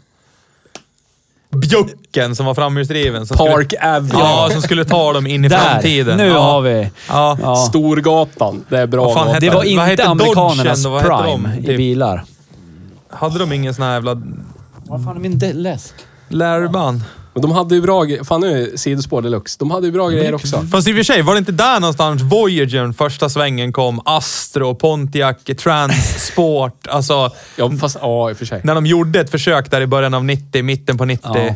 Speaker 2: Bjucken som var framhjulsdriven. som
Speaker 1: Park
Speaker 2: skulle-
Speaker 1: Avenue.
Speaker 2: Ja, som skulle ta dem in i
Speaker 3: Där!
Speaker 2: framtiden.
Speaker 3: Nu
Speaker 2: ja.
Speaker 3: har vi.
Speaker 2: Ja.
Speaker 3: Ja.
Speaker 1: Storgatan. Det är bra.
Speaker 2: Vad fan
Speaker 1: låtar.
Speaker 2: hette
Speaker 3: Det var
Speaker 2: Vad hette
Speaker 3: inte amerikanernas
Speaker 2: Dodgen och vad hette de?
Speaker 3: prime
Speaker 2: Typ-
Speaker 3: i bilar.
Speaker 2: Hade de ingen sån här jävla
Speaker 3: Var fan är min läsk?
Speaker 2: lärband?
Speaker 1: Men de hade ju bra grejer. Fan nu är det sidospår deluxe. De hade ju bra grejer också.
Speaker 2: Fast i och för sig, var det inte där någonstans Voyagern första svängen kom? Astro, Pontiac, Trans, Sport. Alltså,
Speaker 1: Ja, fast ja, i och för sig.
Speaker 2: när de gjorde ett försök där i början av 90, mitten på 90.
Speaker 3: Ja.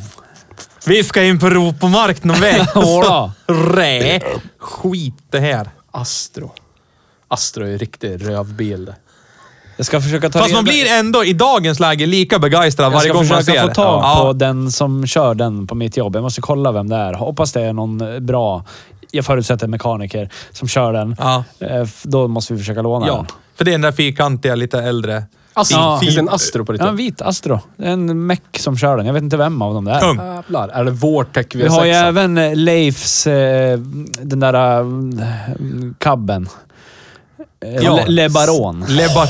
Speaker 2: Vi ska in på Europamark någon väg.
Speaker 3: Jodå.
Speaker 2: Rä. Skit det här.
Speaker 1: Astro. Astro är en riktig rövbil det.
Speaker 3: Jag ska försöka ta
Speaker 2: Fast man
Speaker 3: reda-
Speaker 2: blir ändå i dagens läge lika begeistrad
Speaker 3: Jag
Speaker 2: varje
Speaker 3: ska
Speaker 2: gång man ser
Speaker 3: försöka få
Speaker 2: det.
Speaker 3: tag
Speaker 2: Ja.
Speaker 3: på den som kör den på mitt jobb. Jag måste kolla vem det är. Hoppas det är någon bra, jag förutsätter mekaniker, som kör den.
Speaker 2: Ja.
Speaker 3: Eh, f- Då måste vi försöka låna
Speaker 2: ja.
Speaker 3: den.
Speaker 2: För det är den där fyrkantiga, lite äldre.
Speaker 1: Astro.
Speaker 3: Ja.
Speaker 1: Finns det en Astro på ditt
Speaker 3: Ja, en
Speaker 1: jobb?
Speaker 3: vit Astro. En meck som kör den. Jag vet inte vem av dem det är.
Speaker 2: Tung.
Speaker 1: Jävlar. Är det Vortec V6?
Speaker 3: Vi har ju även eh, Leifs, eh, den där eh, cabben. Eh,
Speaker 2: Ja.
Speaker 3: Le, Le Baron.
Speaker 2: Le Bar-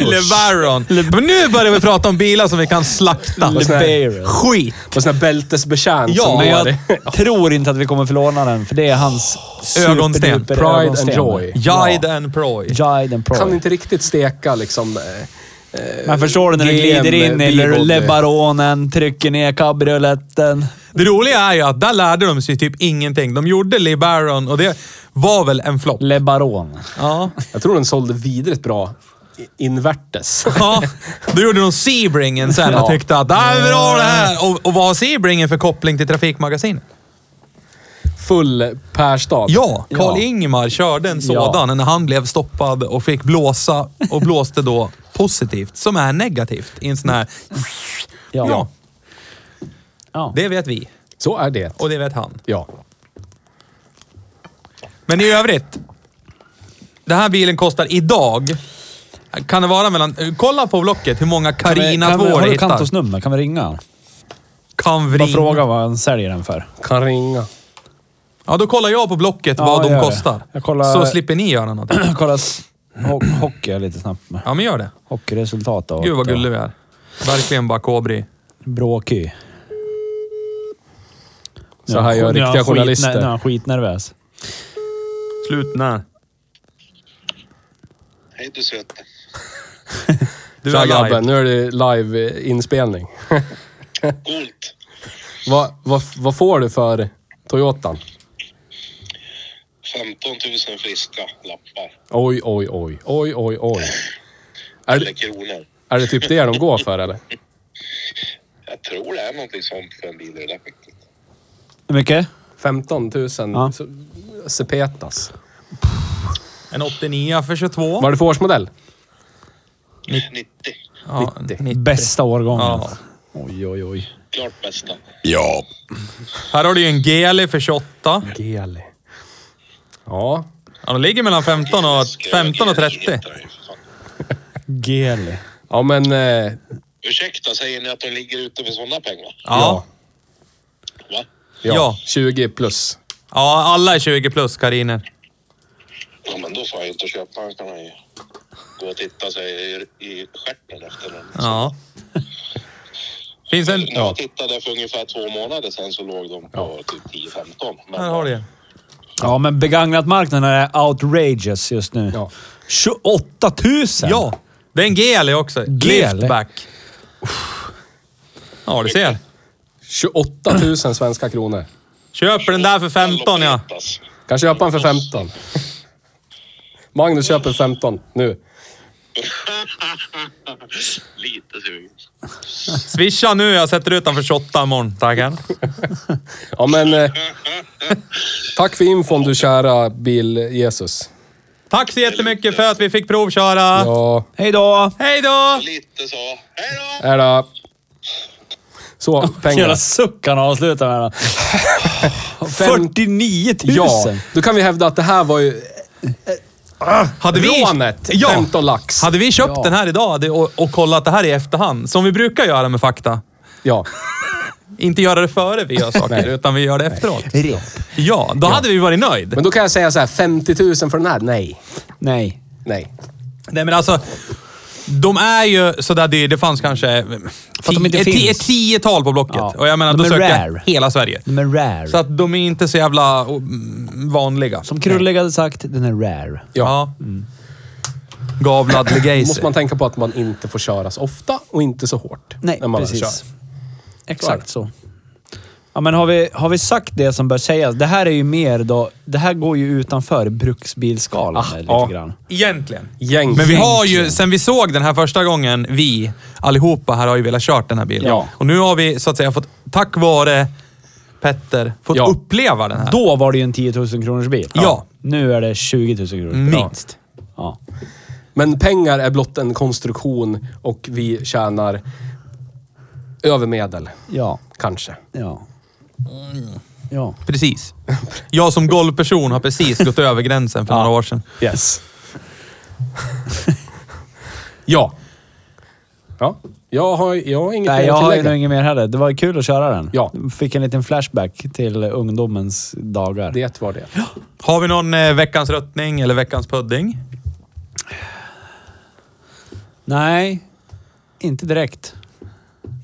Speaker 2: Le Baron. Men nu börjar vi prata om bilar som vi kan slakta.
Speaker 1: Le
Speaker 3: Baron.
Speaker 2: Skit!
Speaker 1: Och sån här bältesbetjänt
Speaker 2: Ja,
Speaker 1: som
Speaker 3: Men
Speaker 1: går
Speaker 3: jag
Speaker 1: i.
Speaker 3: tror inte att vi kommer förlåna den, för det är hans
Speaker 2: Ögonsten.
Speaker 3: superduper
Speaker 1: Pride and
Speaker 3: ögonsten.
Speaker 1: joy.
Speaker 2: Jide and Proy.
Speaker 3: Jide and Pride.
Speaker 1: Kan inte riktigt steka liksom. eh,
Speaker 3: Man förstår du när du
Speaker 1: GM,
Speaker 3: glider in i
Speaker 1: Bigod.
Speaker 3: LeBaronen, trycker ner cabrioletten.
Speaker 2: Det roliga är ju att där lärde de sig typ ingenting. De gjorde Le Baron och det var väl en flopp.
Speaker 3: LeBaron.
Speaker 2: Ja.
Speaker 1: Jag tror den sålde vidrigt bra i- invärtes.
Speaker 2: ja. Då gjorde de Sebringen sen och
Speaker 1: Ja.
Speaker 2: tyckte att det här är bra det här. Och, och vad har Sebringen för koppling till Trafikmagasinet?
Speaker 1: Full Perstad.
Speaker 2: Ja, Karl
Speaker 3: Ja.
Speaker 2: Ingmar körde en
Speaker 3: Ja.
Speaker 2: sådan när han blev stoppad och fick blåsa och blåste då positivt, som är negativt i en sån här...
Speaker 3: Ja.
Speaker 2: ja.
Speaker 3: Ja.
Speaker 2: Det vet vi.
Speaker 1: Så är det.
Speaker 2: Och det vet han.
Speaker 1: Ja.
Speaker 2: Men i övrigt. Den här bilen kostar idag... Kan det vara mellan... Kolla på Blocket hur många Carina 2
Speaker 3: Har
Speaker 2: du
Speaker 3: du
Speaker 2: hittar.
Speaker 3: Kantos nummer? Kan vi ringa? Bara
Speaker 2: Kan vring.
Speaker 3: fråga vad han säljer den för.
Speaker 1: Kan ringa.
Speaker 2: Ja, då kollar jag på Blocket
Speaker 3: Ja,
Speaker 2: vad de
Speaker 3: gör det.
Speaker 2: kostar.
Speaker 3: Jag kollar-
Speaker 2: Så slipper ni göra någonting.
Speaker 3: Kolla s- ho- hockey lite snabbt med.
Speaker 2: Ja, men gör det.
Speaker 3: Hockeyresultat och...
Speaker 2: Gud vad gullig vi är. Verkligen bara kobri.
Speaker 3: Bråky.
Speaker 1: Så här gör riktiga journalister.
Speaker 3: Nu är han skitnervös.
Speaker 2: Slut när?
Speaker 6: Hej du söte.
Speaker 2: Du
Speaker 1: Tja
Speaker 2: är live.
Speaker 1: grabben, nu är det eh, live-inspelning.
Speaker 6: Coolt.
Speaker 1: Vad, vad, vad får du för Toyotan?
Speaker 6: 15 000 friska lappar.
Speaker 1: Oj, oj, oj. Oj, oj, oj. Är,
Speaker 6: Eller
Speaker 1: det-
Speaker 6: kronor.
Speaker 1: är det typ det de går för eller?
Speaker 6: Jag tror det är någonting sånt för en bil i det där skicket.
Speaker 3: Hur mycket?
Speaker 1: 15 000
Speaker 3: Ja.
Speaker 1: så- sepetas.
Speaker 2: En 89 för 22.
Speaker 1: Vad är det för årsmodell?
Speaker 6: 90.
Speaker 2: Ja,
Speaker 1: 90.
Speaker 2: 90.
Speaker 3: Bästa årgången.
Speaker 2: Ja.
Speaker 3: Oj, oj, oj.
Speaker 6: Klart bästa.
Speaker 2: Här har du ju en GL för 28.
Speaker 1: Geli. Ja.
Speaker 2: Ja, de ligger mellan 15 och, 15 och 30.
Speaker 3: Geli.
Speaker 1: Ja men... Eh,
Speaker 6: Ursäkta, säger ni att de ligger ute för sådana pengar?
Speaker 2: Ja.
Speaker 6: Va?
Speaker 1: ja.
Speaker 2: Ja.
Speaker 1: 20 plus.
Speaker 2: ja, alla är 20 plus kariner.
Speaker 6: Ja, men då får jag ju inte köpa. Han kan han ju gå och titta sig i, i stjärten efter den.
Speaker 2: Ja. Finns en...
Speaker 6: När jag tittade för ungefär två månader sedan så låg de på typ 10-15. Men
Speaker 2: Här har du ju.
Speaker 3: Ja, men begagnat marknaden är outrageous just nu.
Speaker 1: Ja.
Speaker 3: 28 000!
Speaker 2: Ja, det är en GL också. Liftback. Ja, du ser.
Speaker 1: 28 000 svenska kronor.
Speaker 2: Köper den där för 15 ja.
Speaker 6: Lopetas.
Speaker 1: Kan köpa en för 15. Magnus köper 15 nu.
Speaker 6: Lite sugen.
Speaker 2: Swisha nu, jag sätter ut den för 28 imorgon. Tackar.
Speaker 1: Ja men... Eh, tack för infon du kära bil-Jesus.
Speaker 2: Tack så jättemycket för att vi fick provköra.
Speaker 1: Ja,
Speaker 3: Hej då!
Speaker 2: Hej då!
Speaker 6: Lite så. Hej då!
Speaker 1: är det... Så, pengar.
Speaker 3: Jävla suck han avslutar med. då. 49 000!
Speaker 1: Ja, då kan vi hävda att det här var ju
Speaker 2: Hade vi,
Speaker 1: rånet.
Speaker 2: Ja.
Speaker 1: 15 lax.
Speaker 2: hade vi köpt den här idag hade- och, och kollat det här i efterhand, som vi brukar göra med fakta.
Speaker 1: Ja.
Speaker 2: Inte göra det före vi gör saker, utan vi gör det efteråt. Ja, då hade vi varit nöjd.
Speaker 1: Men då kan jag säga så här, 50 000 för den här? Nej.
Speaker 3: Nej.
Speaker 1: Nej.
Speaker 2: Nej men alltså, de är ju sådär dyra. Det fanns kanske
Speaker 3: att de inte
Speaker 2: ett,
Speaker 3: finns.
Speaker 2: ett tiotal på Blocket.
Speaker 3: Ja.
Speaker 2: Och jag menar,
Speaker 3: De
Speaker 2: då
Speaker 3: är
Speaker 2: söker jag
Speaker 3: rare.
Speaker 2: hela Sverige.
Speaker 3: De är rare.
Speaker 2: Så att de är inte så jävla mm, vanliga.
Speaker 3: Som Krullig hade sagt, den är rare.
Speaker 2: Ja. Mm. Gavlad
Speaker 1: Då
Speaker 2: legacy.
Speaker 1: måste man tänka på att man inte får köra så ofta och inte så hårt.
Speaker 3: Nej,
Speaker 1: när man väl
Speaker 3: precis.
Speaker 1: kör.
Speaker 3: Exakt så. Ja, men har vi, har vi sagt det som bör sägas? Det här är ju mer då... Det här går ju utanför bruksbilskalan lite
Speaker 1: Ah, ja.
Speaker 3: grann.
Speaker 2: Egentligen.
Speaker 1: Gäng.
Speaker 2: Men vi har ju, sen vi såg den här första gången, vi allihopa här har ju velat kört den här bilen.
Speaker 3: Ja.
Speaker 2: Och nu har vi så att säga fått, tack vare Petter, fått
Speaker 1: Ja.
Speaker 2: uppleva den här.
Speaker 3: Då var det ju en 10 000 kronors bil.
Speaker 2: Ja.
Speaker 3: Nu är det 20 000 kronors bil.
Speaker 2: Minst.
Speaker 3: Ja.
Speaker 1: Men pengar är blott en konstruktion och vi tjänar övermedel,
Speaker 3: Ja.
Speaker 1: kanske.
Speaker 3: Ja. Ja.
Speaker 2: Precis. Jag som golvperson har precis gått över gränsen för några år sedan.
Speaker 1: Yes. ja. Ja. Jag har, jag har inget
Speaker 3: Nej,
Speaker 1: mer
Speaker 3: jag
Speaker 1: att
Speaker 3: har ju
Speaker 1: tillägga.
Speaker 3: nog inget mer heller. Det var ju kul att köra den.
Speaker 1: Ja.
Speaker 3: Fick en liten flashback till ungdomens dagar.
Speaker 1: Det var det.
Speaker 2: Har vi någon eh, veckans röttning eller veckans pudding?
Speaker 3: Nej, inte direkt.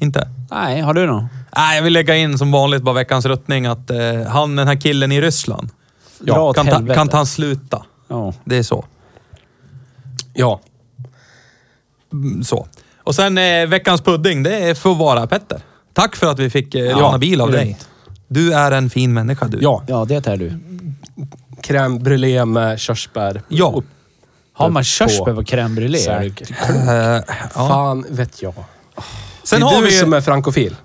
Speaker 2: Inte?
Speaker 3: Nej, har du någon?
Speaker 2: Nej, jag vill lägga in som vanligt bara veckans röttning att eh, han, den här killen i Ryssland,
Speaker 3: Ja, Dra åt
Speaker 2: kan, ta,
Speaker 3: helvete.
Speaker 2: kan ta han sluta?
Speaker 3: Ja.
Speaker 2: Det är så.
Speaker 1: Ja.
Speaker 2: Mm, så. Och sen eh, veckans pudding, det är får vara Petter. Tack för att vi fick eh,
Speaker 1: Ja,
Speaker 2: låna bil av
Speaker 1: grymt.
Speaker 2: dig. Du är en fin människa du.
Speaker 1: Ja.
Speaker 3: ja, det är du.
Speaker 1: Crème brûlée med körsbär.
Speaker 2: Ja.
Speaker 3: Har man körsbär på crème brûlée? Är det-
Speaker 1: Säkert.
Speaker 2: Eh, ja.
Speaker 1: Fan vet jag.
Speaker 2: Sen,
Speaker 1: det är
Speaker 2: har
Speaker 1: du
Speaker 2: vi,
Speaker 1: som
Speaker 2: ju-
Speaker 1: är frankofil.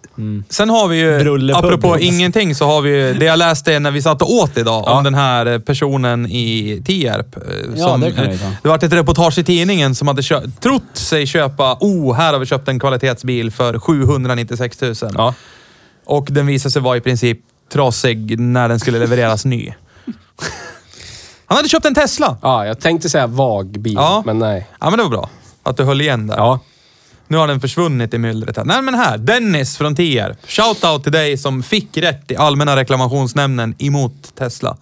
Speaker 2: sen har vi ju,
Speaker 3: Brullepudding.
Speaker 2: apropå ingenting, så har vi ju det jag läste när vi satt och åt idag om den här eh, personen i Tierp. eh,
Speaker 3: Ja, det kan
Speaker 2: eh,
Speaker 3: vi ta.
Speaker 2: det var ett reportage i tidningen som hade kö- trott sig köpa, oh, här har vi köpt en kvalitetsbil för 796 000.
Speaker 1: Ja.
Speaker 2: och den visade sig vara i princip trasig när den skulle levereras ny. Han hade köpt en Tesla.
Speaker 1: Ja, jag tänkte säga vag bil,
Speaker 2: Ja.
Speaker 1: men nej.
Speaker 2: Ja, men det var bra att du höll igen där.
Speaker 1: Ja.
Speaker 2: Nu har den försvunnit i myllret här. Nej, men här. Dennis från TR. Shoutout till dig som fick rätt i Allmänna reklamationsnämnden emot Tesla.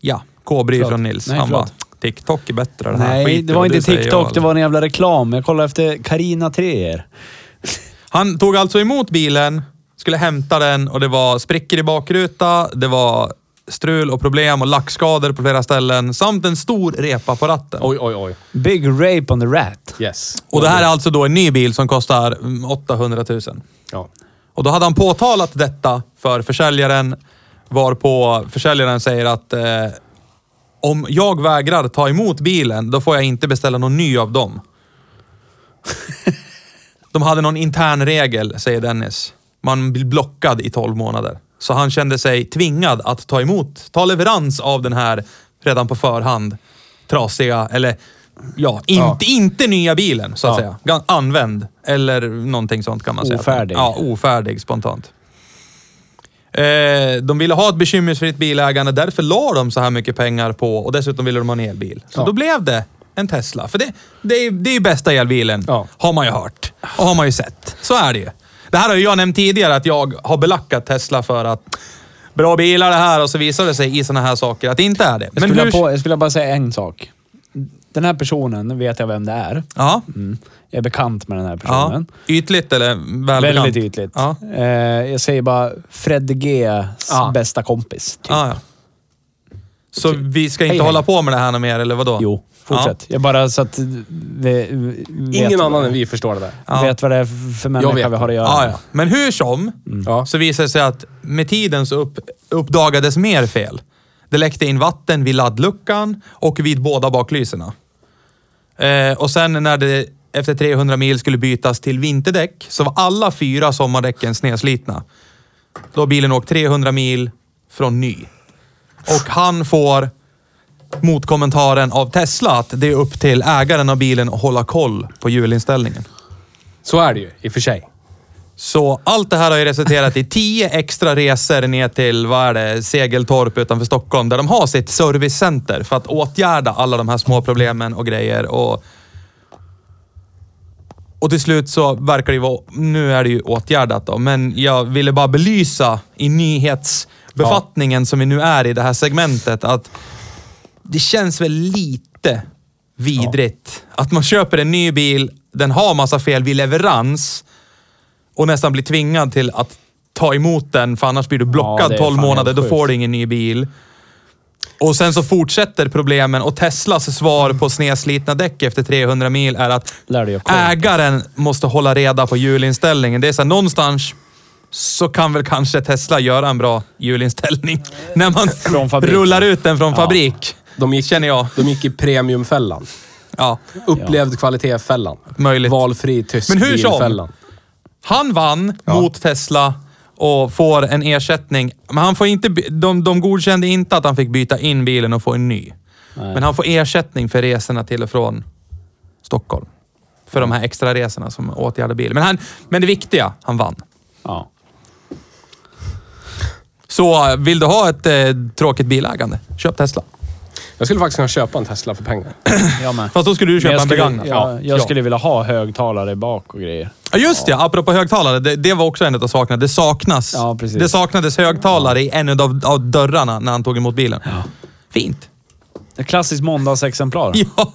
Speaker 2: Ja, K-bry från Nils.
Speaker 3: Nej,
Speaker 2: Han bara,
Speaker 3: förlåt.
Speaker 2: TikTok är bättre. Den här.
Speaker 3: Nej,
Speaker 2: Skit i
Speaker 3: det
Speaker 2: vad
Speaker 3: var
Speaker 2: du
Speaker 3: inte
Speaker 2: säger,
Speaker 3: TikTok. Det
Speaker 2: Joel.
Speaker 3: var en jävla reklam. Jag kollade efter Karina Treer.
Speaker 2: Han tog alltså emot bilen, skulle hämta den och det var sprickor i bakruta, det var strul och problem och lackskador på flera ställen samt en stor repa på ratten.
Speaker 1: Oj, oj, oj.
Speaker 3: Big Rape on the Rat.
Speaker 1: Yes.
Speaker 2: Och det här är alltså då en ny bil som kostar mm, 800 000.
Speaker 1: Ja.
Speaker 2: Och då hade han påtalat detta för försäljaren, varpå försäljaren säger att eh, om jag vägrar ta emot bilen, då får jag inte beställa någon ny av dem. De hade någon intern regel, säger Dennis. Man blir blockad i 12 månader. Så han kände sig tvingad att ta emot, ta leverans av den här redan på förhand trasiga, eller ja, inte, inte nya bilen så att
Speaker 1: Ja.
Speaker 2: säga. Gan- Använd, eller någonting sånt kan man säga.
Speaker 3: Ofärdig.
Speaker 2: Ja, ofärdig spontant. Eh, de ville ha ett bekymmersfritt bilägande, därför la de så här mycket pengar på och dessutom ville de ha en elbil. Så
Speaker 1: Ja.
Speaker 2: då blev det en Tesla. För det, det, är, det är ju bästa elbilen,
Speaker 1: Ja.
Speaker 2: har man ju hört och har man ju sett. Så är det ju. Det här har ju jag nämnt tidigare, att jag har belackat Tesla för att bra bilar det här och så visar det sig i såna här saker att det inte är det.
Speaker 3: Jag skulle, vilja på, jag skulle bara säga en sak. Den här personen, nu vet jag vem det är.
Speaker 2: Ja,
Speaker 3: Mm. Jag är bekant med den här
Speaker 2: ja.
Speaker 3: personen.
Speaker 2: Ytligt eller välbekant?
Speaker 3: Väldigt ytligt.
Speaker 2: Ja.
Speaker 3: Eh, jag säger bara Fred G's
Speaker 2: Ja.
Speaker 3: bästa kompis. Typ.
Speaker 2: Ja, ja. Så vi ska inte
Speaker 3: Hej, hej.
Speaker 2: hålla på med det här något mer, eller vadå?
Speaker 3: Jo, fortsätt. Jag bara så att vi, vi
Speaker 1: Ingen
Speaker 3: vet,
Speaker 1: annan än vi förstår det där.
Speaker 2: Ja.
Speaker 3: vet vad det är för
Speaker 1: vet
Speaker 3: människa vi har att göra
Speaker 2: Ah, Ja,
Speaker 3: med.
Speaker 2: ja. Men hur som,
Speaker 1: Ja.
Speaker 2: så visade det sig att med tiden så upp, uppdagades mer fel. Det läckte in vatten vid laddluckan och vid båda baklyserna. Eh, och sen när det efter 300 mil skulle bytas till vinterdäck så var alla fyra sommardäcken snedslitna. Då har bilen åkt 300 mil från ny. Och han får motkommentaren av Tesla att det är upp till ägaren av bilen att hålla koll på hjulinställningen.
Speaker 1: Så är det ju, i och för sig.
Speaker 2: Så allt det här har ju resulterat i tio extra resor ner till, vad är det, Segeltorp utanför Stockholm, där de har sitt servicecenter för att åtgärda alla de här små problemen och grejer. Och, och till slut så verkar det ju vara, nu är det ju åtgärdat då, men jag ville bara belysa i nyhetsbefattningen som vi nu är i det här segmentet att det känns väl lite vidrigt att man köper en ny bil, den har massa fel vid leverans och nästan blir tvingad till att ta emot den för annars blir du blockad
Speaker 3: det är
Speaker 2: 12
Speaker 3: fan
Speaker 2: månader,
Speaker 3: helt
Speaker 2: då
Speaker 3: sjukt.
Speaker 2: får du ingen ny bil. Och sen så fortsätter problemen och Teslas svar på snedslitna däck efter 300 mil är att
Speaker 3: Lär dig att kolla.
Speaker 2: ägaren måste hålla reda på hjulinställningen. Det är så här, någonstans så kan väl kanske Tesla göra en bra hjulinställning när
Speaker 3: Från
Speaker 2: man
Speaker 3: fabriken.
Speaker 2: rullar ut den från
Speaker 3: Ja.
Speaker 2: fabrik.
Speaker 1: De gick,
Speaker 2: Känner jag.
Speaker 1: De gick i premiumfällan.
Speaker 2: Ja.
Speaker 1: Upplevd kvalitetfällan.
Speaker 2: Möjligt.
Speaker 1: Valfri tysk
Speaker 2: Men hur som?
Speaker 1: bilfällan.
Speaker 2: Han vann mot Tesla och får en ersättning. Men han får inte, by- de, de godkände inte att han fick byta in bilen och få en ny. Men han får ersättning för resorna till och från Stockholm. För de här extra resorna som åtgärdar bilen. Men, han, men det viktiga, han vann.
Speaker 3: Ja.
Speaker 2: Så eh, vill du ha ett eh, tråkigt bilägande, köp Tesla.
Speaker 1: Jag skulle faktiskt kunna köpa en Tesla för pengar.
Speaker 3: Jag med.
Speaker 2: Fast då skulle du
Speaker 3: Men
Speaker 2: köpa
Speaker 3: jag
Speaker 2: en
Speaker 3: skulle,
Speaker 2: begagnad.
Speaker 3: ja, jag
Speaker 2: Ja.
Speaker 3: skulle vilja ha högtalare bak och grejer.
Speaker 2: Ja, just det. Apropå högtalare. Det, det var också en av sakerna. Det saknas.
Speaker 3: Ja, precis.
Speaker 2: det saknades högtalare i en av, av dörrarna när han tog emot bilen. Fint.
Speaker 3: Ett klassiskt måndagsexemplar.
Speaker 2: Ja.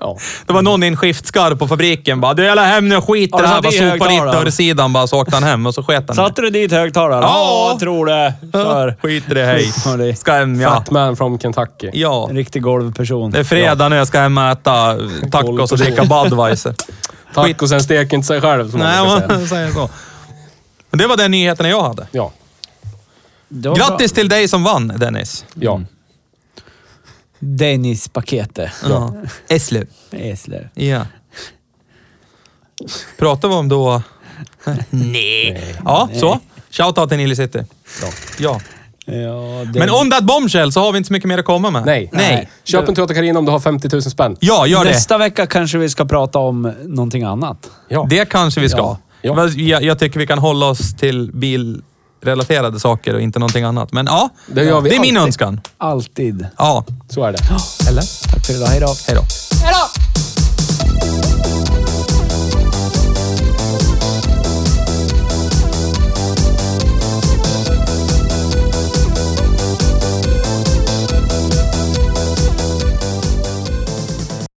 Speaker 1: Ja.
Speaker 2: Det var någon i en skiftskarv på fabriken bara, du jag la hem nu skit i
Speaker 3: Ja,
Speaker 2: det här.
Speaker 3: det
Speaker 2: Bara
Speaker 3: är
Speaker 2: sopade dit
Speaker 3: högtalare.
Speaker 2: dörrsidan bara så åkte han hem och så sket han i
Speaker 3: Satte du dit högtalare?
Speaker 2: Ja.
Speaker 3: Ja, tror det. Kör.
Speaker 2: det. Skit i det, hej.
Speaker 3: Ja, det-
Speaker 2: Ska hem, ja.
Speaker 1: Fatman from Kentucky.
Speaker 2: Ja.
Speaker 3: En riktig golvperson.
Speaker 2: Det är fredag nu, jag ska hem och äta tacos och dricka Budweiser.
Speaker 1: Tack och sen steker inte sig själv, som
Speaker 2: Nej,
Speaker 1: man brukar säga.
Speaker 2: man säger så. Men det var den nyheten jag hade.
Speaker 1: Ja.
Speaker 3: Det var
Speaker 2: Grattis
Speaker 3: bra.
Speaker 2: till dig som vann, Dennis.
Speaker 1: Ja.
Speaker 3: Dennis Pakete.
Speaker 2: Ja. Eslöv.
Speaker 3: Eslöv.
Speaker 2: Ja. Pratar vi om då... Nej. Ja, så. Shoutout till Nile City.
Speaker 1: Ja.
Speaker 2: Ja.
Speaker 3: Ja,
Speaker 2: Men on that bombshell så har vi inte så mycket mer att komma med.
Speaker 1: Nej.
Speaker 2: Nej.
Speaker 1: Köp en Toyota Carina om du har 50 000 spänn.
Speaker 2: Ja, gör det.
Speaker 3: Nästa vecka kanske vi ska prata om någonting annat.
Speaker 1: Ja.
Speaker 2: Det kanske vi ska.
Speaker 3: Ja.
Speaker 1: Ja.
Speaker 2: Men Jag, jag tycker vi kan hålla oss till bilrelaterade saker och inte någonting annat. Men ja,
Speaker 1: Det gör vi
Speaker 2: är min
Speaker 1: alltid.
Speaker 2: önskan.
Speaker 3: Alltid.
Speaker 2: Ja,
Speaker 1: Så är det.
Speaker 3: Tack för idag. Hej då.
Speaker 2: hej då.